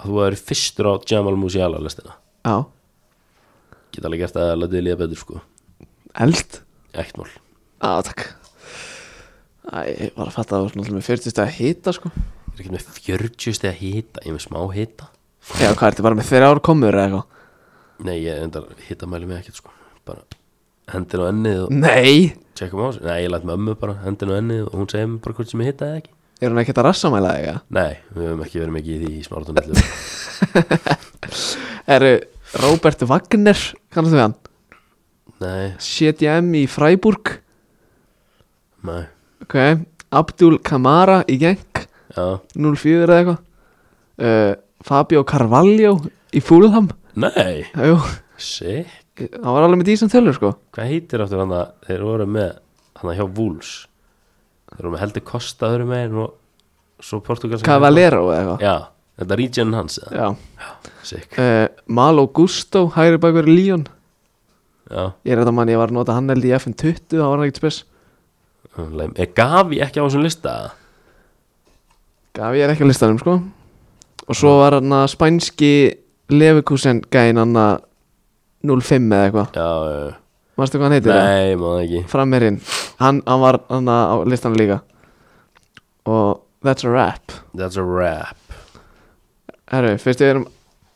Speaker 2: En Þú er fyrstur á Jamal Musiala listina
Speaker 1: Já,
Speaker 2: Geta alveg gert að latið líða betur sko
Speaker 1: eld
Speaker 2: Ekkert mál
Speaker 1: Á, takk Æ, ég var að fatta að það var svona alltaf með 40 steg að hita sko
Speaker 2: Er ekki með 40 stið að hita Ég er með smá hita
Speaker 1: Já, hvað ertu bara með þeirra ár komur eða eitthvað?
Speaker 2: Nei, ég endar hita mæli mig ekkert sko Bara hendin á ennið og
Speaker 1: Nei
Speaker 2: tjekkum á sig Nei, ég læt með ömmu bara hendin á ennið og hún segir mér bara hvort sem ég hita eða ekki
Speaker 1: Er hún ekkert að rassamæla eða eitthvað?
Speaker 2: Nei, við höfum ekki verið mikið í því í smáratunni
Speaker 1: Eru Robert Wagner, kannastu við hann?
Speaker 2: Nei,
Speaker 1: CDM í Freiburg
Speaker 2: nei,
Speaker 1: Ok, Abdul Kamara í Genk
Speaker 2: já
Speaker 1: 04 eða eitthvað uh, Fabio Carvalho í Fúlham
Speaker 2: Nei,
Speaker 1: Jú,
Speaker 2: sí
Speaker 1: hann var alveg með dísan tölur sko
Speaker 2: Hvað heitir aftur hann að þeir voru með hann að hjá Wolves Þeir voru með heldur Kosta öðru megin og svo Portugal
Speaker 1: Cavalero eða eitthvað
Speaker 2: Já, þetta er region hans eða
Speaker 1: Já,
Speaker 2: Sick,
Speaker 1: uh, Malo Gusto, hægri bakur Líón
Speaker 2: já
Speaker 1: Ég er þetta mann, ég var að nota hann held í FN20 þá var hann ekkert spes
Speaker 2: Leim. Er Gavi ekki á þessum lista?
Speaker 1: Gaf ég er ekki á listanum sko Og svo var hann að spænski Leverkusen gæin hann að 05 eða eitthvað
Speaker 2: Já, já, já.
Speaker 1: Manstu hvað hann heitir það?
Speaker 2: nei, maður ekki
Speaker 1: Framherinn, hann, hann var hann á listanum líka Og that's a wrap
Speaker 2: That's a wrap
Speaker 1: Herru, fyrst við erum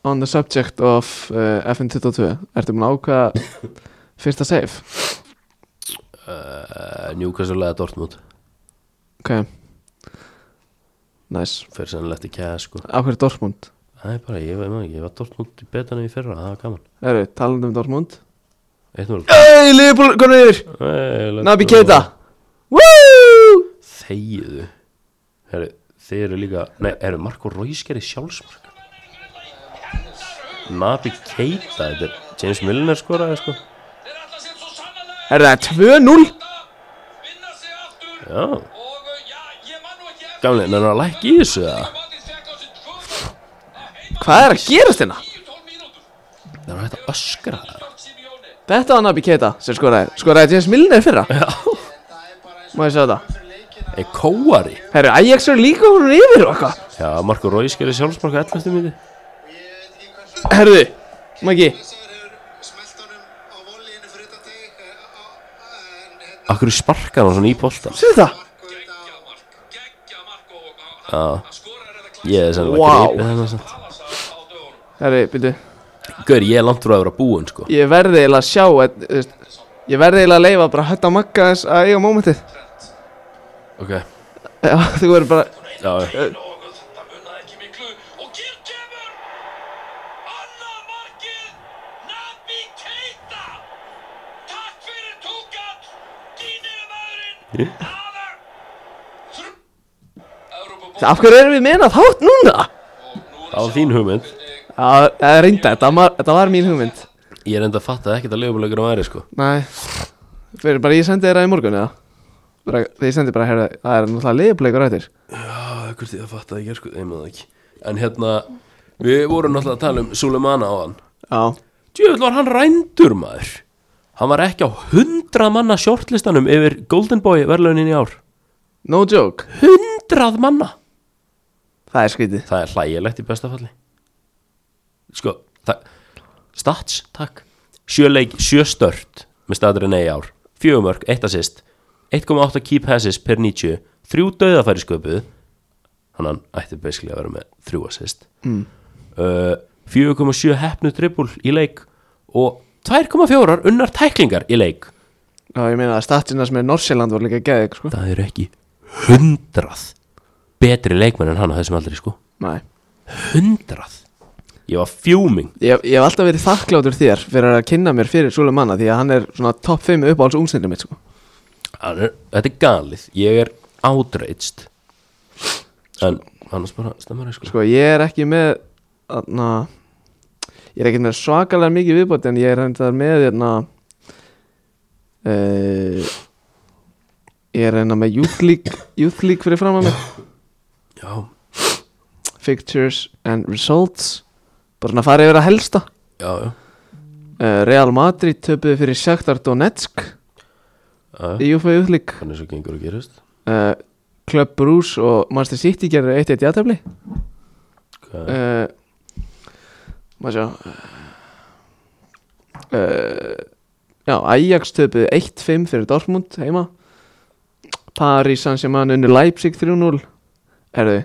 Speaker 1: on the subject of uh, FN22 Ertu mun ákvaða fyrsta save?
Speaker 2: uh, Newcastle eða Dortmund
Speaker 1: Ok Næs
Speaker 2: Fyrir sennilegt í kæða sko
Speaker 1: Á hverju Dortmund?
Speaker 2: Nei, bara, ég veit maður ekki, ég var Dortmund í betan í fyrra, það var gaman
Speaker 1: Herru, talandi um Dortmund
Speaker 2: Eitt núl
Speaker 1: Hey, Liverpool, konar yfir
Speaker 2: Hey,
Speaker 1: Nabi Keita Woo
Speaker 2: Þegiðu Herru, þeir eru líka Nei, eru Marko Róiskeri sjálfsmark Nabi Keita Þetta er James Milner skoraði sko
Speaker 3: Þeir ætla sér svo sannarlega
Speaker 1: Herru, það er 2-0
Speaker 3: að vinna sig aftur
Speaker 2: Já,
Speaker 3: og uh, já, ég man nú ekki eftir
Speaker 2: gamlega, nefnir að lækki í þessu það
Speaker 3: Matís fekk á sig tvö
Speaker 1: Hvað er að gerast hérna?
Speaker 3: 10-12 mínútur
Speaker 2: Það var hægt að öskra það
Speaker 3: Björn Simeone
Speaker 1: Þetta var Nabi Keita sem skoraði Skoraði James Milner í fyrra Má ég sjá þetta
Speaker 2: En kóari
Speaker 1: Herru, Ajax er líka hún yfir og eitthvað
Speaker 2: Já, Marko Rói skerði sjálfsmarka 11. minni
Speaker 1: Herru, Maggi
Speaker 2: Akkur sparkar hann svona í boltan
Speaker 1: Sér þetta?
Speaker 3: Geggja mark Geggja mark og hann-
Speaker 2: Já,
Speaker 3: hann skorar eða klart
Speaker 2: ég er
Speaker 1: Vá.
Speaker 2: sennilega wow. greipið þennan samt
Speaker 3: Halas á á dögunum
Speaker 1: Herru, byrju
Speaker 2: Gaur, ég er langt frá að vera búinn sko
Speaker 1: Ég verði eiginlega að sjá að, þú veist, Ég verði eiginlega að leifa bara að hötta Magga þess að eiga mómentið
Speaker 2: Ok, já,
Speaker 1: Já, þú verður bara
Speaker 2: já
Speaker 3: Og þetta munnaði ekki miklu Og Gil kemur Anna markið Nabi Keita Takk fyrir túkat Dýnir maðurinn Aðar Európa
Speaker 1: Af hverju erum við menað hátt núna?
Speaker 2: Það var þín hugmynd
Speaker 1: Já, það er reynda, þetta var, þetta var mín hugmynd
Speaker 2: Ég er enda að fatta ekkert að leifumleikur á aðri sko
Speaker 1: Nei Fyrir bara ég sendi þér að í morgun eða bara, Ég sendi bara, herru, það er náttúrulega leiðbleikur ættir
Speaker 2: Já, hvort ég að fatta ekki sko, ég með það ekki En hérna, við vorum náttúrulega að tala um Suleimana á hann
Speaker 1: Já
Speaker 2: Djöfull var hann rændur maður Hann var ekki á 100 manna shortlistanum yfir Golden Boy verðlaunin í ár
Speaker 1: No joke
Speaker 2: 100 manna
Speaker 1: Það er skrítið
Speaker 2: Það er hlægilegt í bestafalli Sko, það Stats, takk Sjö leik, sjö stört með staturinn eigi ár Fjögumörk, eitt assist 1,8 key passes per 90 Þrjú döðafæri sköpuð Þannig hann ætti basically að vera með þrjú assist mm. uh, 4,7 hefnu dribbul í leik Og 2,4 unnar tæklingar í leik
Speaker 1: Já, ég meina að statsina sem er Norsjöland voru líka geðið, sko
Speaker 2: Það eru ekki 100 Betri leikmenn en hann á þessum aldrei sko
Speaker 1: Nei
Speaker 2: 100 Ég var fjúming
Speaker 1: Ég, ég hef alltaf verið þakkláttur þér fyrir að kynna mér fyrir Súlum manna því að hann er svona topp 5 uppáhalds ungsendri mitt, sko
Speaker 2: hann er, þetta er galið ég er outraged en annars bara stemmar ég sko
Speaker 1: Sko, ég er ekki með, þarna Ég er ekki með svakalega mikið viðbót en ég er reyndar með, hérna, þarna uh, Ég er reyndar með Youth League, Youth League fyrir fram að mig
Speaker 2: já,
Speaker 1: Pictures and Results Bara svona farið yfir að helsta
Speaker 2: já, já,
Speaker 1: Eh, Real Madrid töpuðu fyrir Shakhtar Donetsk
Speaker 2: já, já.
Speaker 1: í UFA útlík
Speaker 2: hann er svo gengur og gerist
Speaker 1: uh, Club Brús og Manchester City gerðu 1-1 játefli
Speaker 2: okay.
Speaker 1: uh, maður sjá uh, já, Ajax töpuðu 1-5 fyrir Dortmund heima Paris Saint-Germain unnu Leipzig 3-0 erðu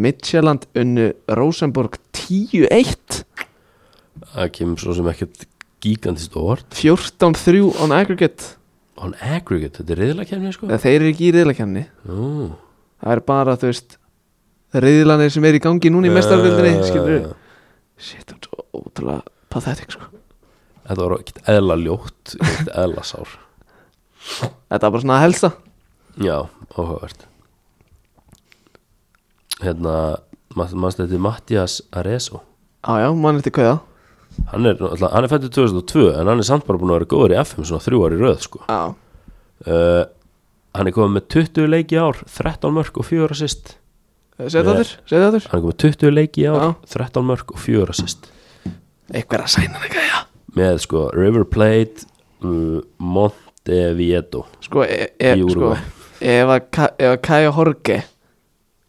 Speaker 1: Midtjylland unnu Rosenborg 10-1
Speaker 2: það kemur svo sem ekkert gigantist óvart
Speaker 1: 14-3 on aggregate
Speaker 2: on aggregate, þetta er reyðilega kemni sko
Speaker 1: Eða þeir eru ekki í riðlakjarni
Speaker 2: Nú.
Speaker 1: Það er bara, þú veist Riðlanir sem er í gangi núna í mestaröldinni
Speaker 2: Eh,
Speaker 1: Skilur við Shit, það er svo ótrúlega pathetic sko.
Speaker 2: þetta var ekkert eðla ljótt ekkert eðla sár
Speaker 1: Þetta er bara svona að helsta
Speaker 2: já, áhugavert hérna mannstu þetta er Mattias Areso
Speaker 1: Já, já, mann eftir kauða
Speaker 2: hann er, náttúrulega- hann er fættur 2002 en hann er samt bara búin að vera góður í FM svona þrjú ári röð sko
Speaker 1: Já,
Speaker 2: uh, hann er komið með 20 leiki í ár 13 mörg og 4 assist
Speaker 1: segðu það
Speaker 2: Nei.
Speaker 1: þurr, segðu það þurr
Speaker 2: hann er komið með 20 leiki í ár
Speaker 1: Já.
Speaker 2: 13 mörg og 4 assist
Speaker 1: Eitthvað er að sæna það kauða
Speaker 2: með sko River Plate uh, Montevideo
Speaker 1: Sko, e, e,
Speaker 2: Í
Speaker 1: sko
Speaker 2: Uruguay.
Speaker 1: Ef að Ka- ef að Kaja Horge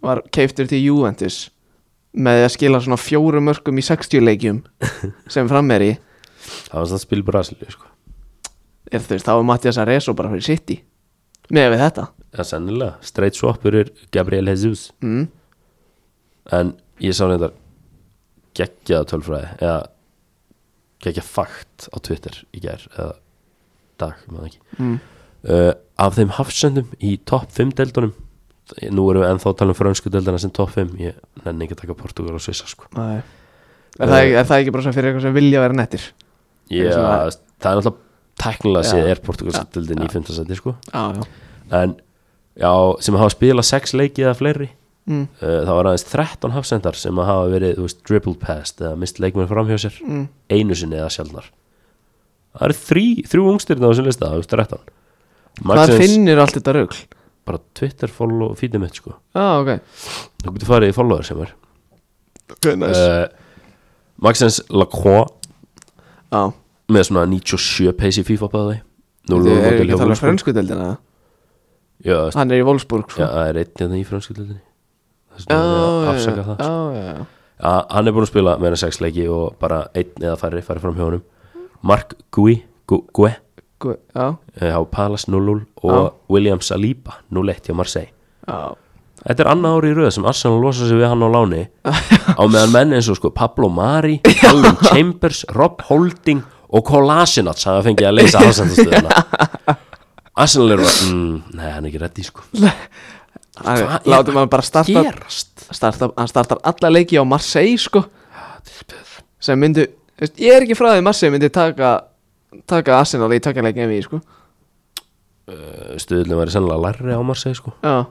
Speaker 1: Var keiftur til Juventus Með því að skila svona fjórum mörkum í 60
Speaker 2: (laughs)
Speaker 1: leikjum Sem fram er í
Speaker 2: það var samt spil Brasilíu sko
Speaker 1: er, þú veist, Þá er Mattias Areso bara fyrir City Með við þetta
Speaker 2: það er sennilega, straight swapur er Gabriel Jesus
Speaker 1: mm.
Speaker 2: en ég sá reyndar geggjaða tölfræði eða geggjað fakt á Twitter í gær eða dag, maður ekki
Speaker 1: Mm.
Speaker 2: uh, af þeim hafsendum í topp 5 deildunum nú erum við ennþá að tala um frönsku deildana sem topp 5 ég nenni ekki að taka Portugal og Svissa sko.
Speaker 1: Nei. Er, það, ekki- er það ekki bara svona fyrir eitthvað sem vilja vera nettir?
Speaker 2: ég,
Speaker 1: er svona-
Speaker 2: það er náttúrulega
Speaker 1: Já.
Speaker 2: teknilega séð er portugalska deildin
Speaker 1: já.
Speaker 2: í 15 sendi sko.
Speaker 1: Já, já
Speaker 2: en já, sem hafa spilað 6 leiki eða fleiri
Speaker 1: mm,
Speaker 2: uh, það var aðeins 13 hafsendar sem að hafa verið þú veist, dribbled past eða mist leikmenn framhjá sér
Speaker 1: mm.
Speaker 2: einu sinni eða sjálfnar það eru þrý, þrjú ungstyrna á þessum lista það er 13
Speaker 1: Hvað
Speaker 2: Maxens,
Speaker 1: finnir allt þetta rugl?
Speaker 2: bara Twitter follow feedið mitt sko
Speaker 1: Já, ok
Speaker 2: þú getur farið í follower sem er
Speaker 1: okay,
Speaker 2: uh, Maxens Lacroix
Speaker 1: Já,
Speaker 2: með svona 97 pace í FIFA bæði Nú
Speaker 1: þetta er ekki að
Speaker 2: hjá
Speaker 1: tala um
Speaker 2: Wolfsburg.
Speaker 1: frönsku deildina
Speaker 2: Já, það-
Speaker 1: Hann er í Wolfsburg
Speaker 2: já,
Speaker 1: sko.
Speaker 2: það er einn hérna í fransku deildinni Þess
Speaker 1: Já,
Speaker 2: vegna er ég að
Speaker 1: já,
Speaker 2: afsaka það sko.
Speaker 1: já, já, já.
Speaker 2: Já, hann er búin að spila meira en sex leiki og bara einn eða færri farið fram hjá honum Mark Gui Gu- Gue
Speaker 1: Gu- Sko, já,
Speaker 2: eh, á Palace 0-0 og William Saliba 0-1 hjá Marseille
Speaker 1: já.
Speaker 2: Þetta er annað ári í röð sem Arsenal losa sig við hann á
Speaker 1: (laughs)
Speaker 2: láni á meðan menn eins og sko Pablo Mari, Alvin Chambers, Rob Holding og Kolasinac hafa fengið að
Speaker 1: (laughs)
Speaker 2: leysa ásendastöðuna Arsenal eru að, mm, nei hann er ekki reddi sko
Speaker 1: Hann er-
Speaker 2: Hvað er
Speaker 1: Látum hann bara starta,
Speaker 2: Gerast
Speaker 1: starta Hann startar alla leiki á Marseille sko sem myndu veist, Ég er ekki frá því að Marseille myndi taka taka Arsenal í takjanleiki en við sko
Speaker 2: Stöðlum Eh, væri sennilega larri á Marseille sko
Speaker 1: Já,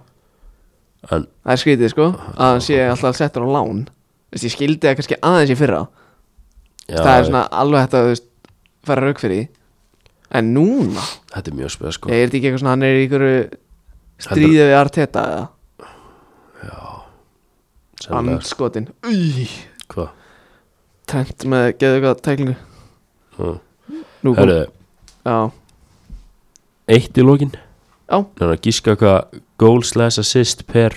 Speaker 2: En
Speaker 1: það er skrítið sko að hann sé alltaf settur á lán Veist, ég skildi það kannski aðeins í fyrra
Speaker 2: já,
Speaker 1: það er svona alveg hægt að þú veist, fara rauk fyrir því en núna,
Speaker 2: þetta er mjög spöð sko
Speaker 1: ég er þetta ekki eitthvað svona hann er í einhverju stríði við Arteta eða
Speaker 2: Sennilega,
Speaker 1: andskotin
Speaker 2: Hvað?
Speaker 1: trend með geðu eitthvað tæklingu
Speaker 2: Mm.
Speaker 1: nú kom,
Speaker 2: Herðu,
Speaker 1: já,
Speaker 2: eitt í lokin
Speaker 1: Já.
Speaker 2: Þannig að gíska hvað goal slash assist per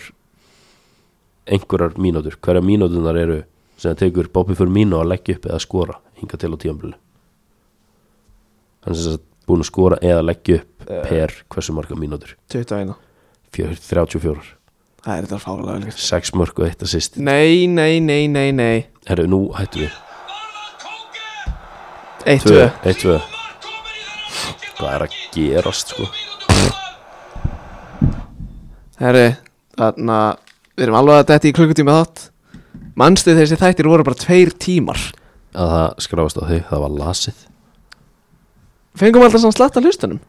Speaker 2: einhverjar mínútur Hverja mínútunar eru sem það tekur Bobby fyrir mínu að leggja upp eða skora hinga til á tíambilu Hann er sem sagt búin að skora eða leggja upp per hversu marga mínútur
Speaker 1: 21
Speaker 2: Fjör- 34,
Speaker 1: það er þetta fálega vel gert.
Speaker 2: 6 mörg og 1 assist
Speaker 1: nei, nei, nei, nei, nei
Speaker 2: Herru, nú hættum við
Speaker 1: eitt,
Speaker 2: 2,
Speaker 1: tvö,
Speaker 2: 1, 2 Hvað er að gerast sko?
Speaker 1: herri þarna, við erum alveg að detti í klukkutíma þátt manstu þessi þættir voru bara tveir tímar
Speaker 2: Að það skrafast á þau, það var lasið
Speaker 1: fengum alltaf svona slatta hlustunum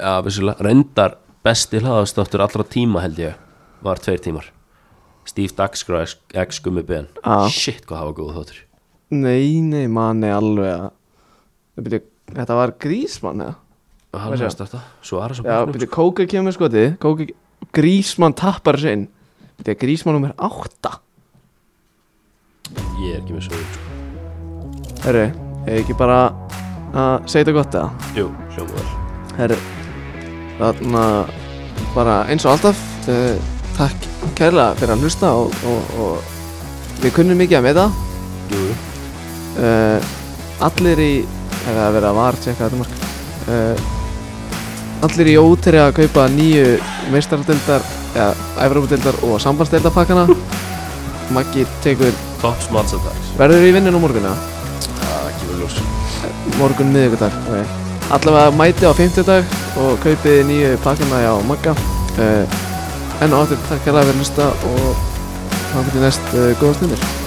Speaker 2: Já, vissulega, reyndar besti hlaðastáttur allra tíma held ég var tveir tímar Steve Dagskrá X gummi ben
Speaker 1: Já.
Speaker 2: shit hvað hafa góð þáttur
Speaker 1: Nei, nei, manni alveg að Það byrju, Þetta var grísmann eða?
Speaker 2: hann
Speaker 1: Hvað
Speaker 2: er
Speaker 1: sé?
Speaker 2: að starta, svo aðra sem
Speaker 1: Já, byrju, Kóka kemur skotið Kóka, Grísmann tappar þessu inn Þetta er grísmann nummer 8
Speaker 2: ég er ekki með svo sko.
Speaker 1: Herru, hefur ekki bara að segja þetta gott eða?
Speaker 2: jú, hljóma vel
Speaker 1: Herru, þarna bara eins og alltaf uh, Takk kærlega fyrir að hlusta og, og, og við kunnum mikið að með það
Speaker 2: jú, jú.
Speaker 1: uh, allir í ef það er verið að var tjekka þetta mark uh, allir í óteri að kaupa nýju meistaradeldar eða æfraúdeldar og sambandsdeldarpakkana Maggi tekur
Speaker 2: top smarts að dags
Speaker 1: verður í vinninu morgunna
Speaker 2: það er ekki vel ljós
Speaker 1: morgun miðugudag allavega mæti á 50 dag og kaupið nýju pakkana á Magga Eh, uh, en á aftur takk hérlega fyrir að hlusta og þá getur næst uh, góða stundir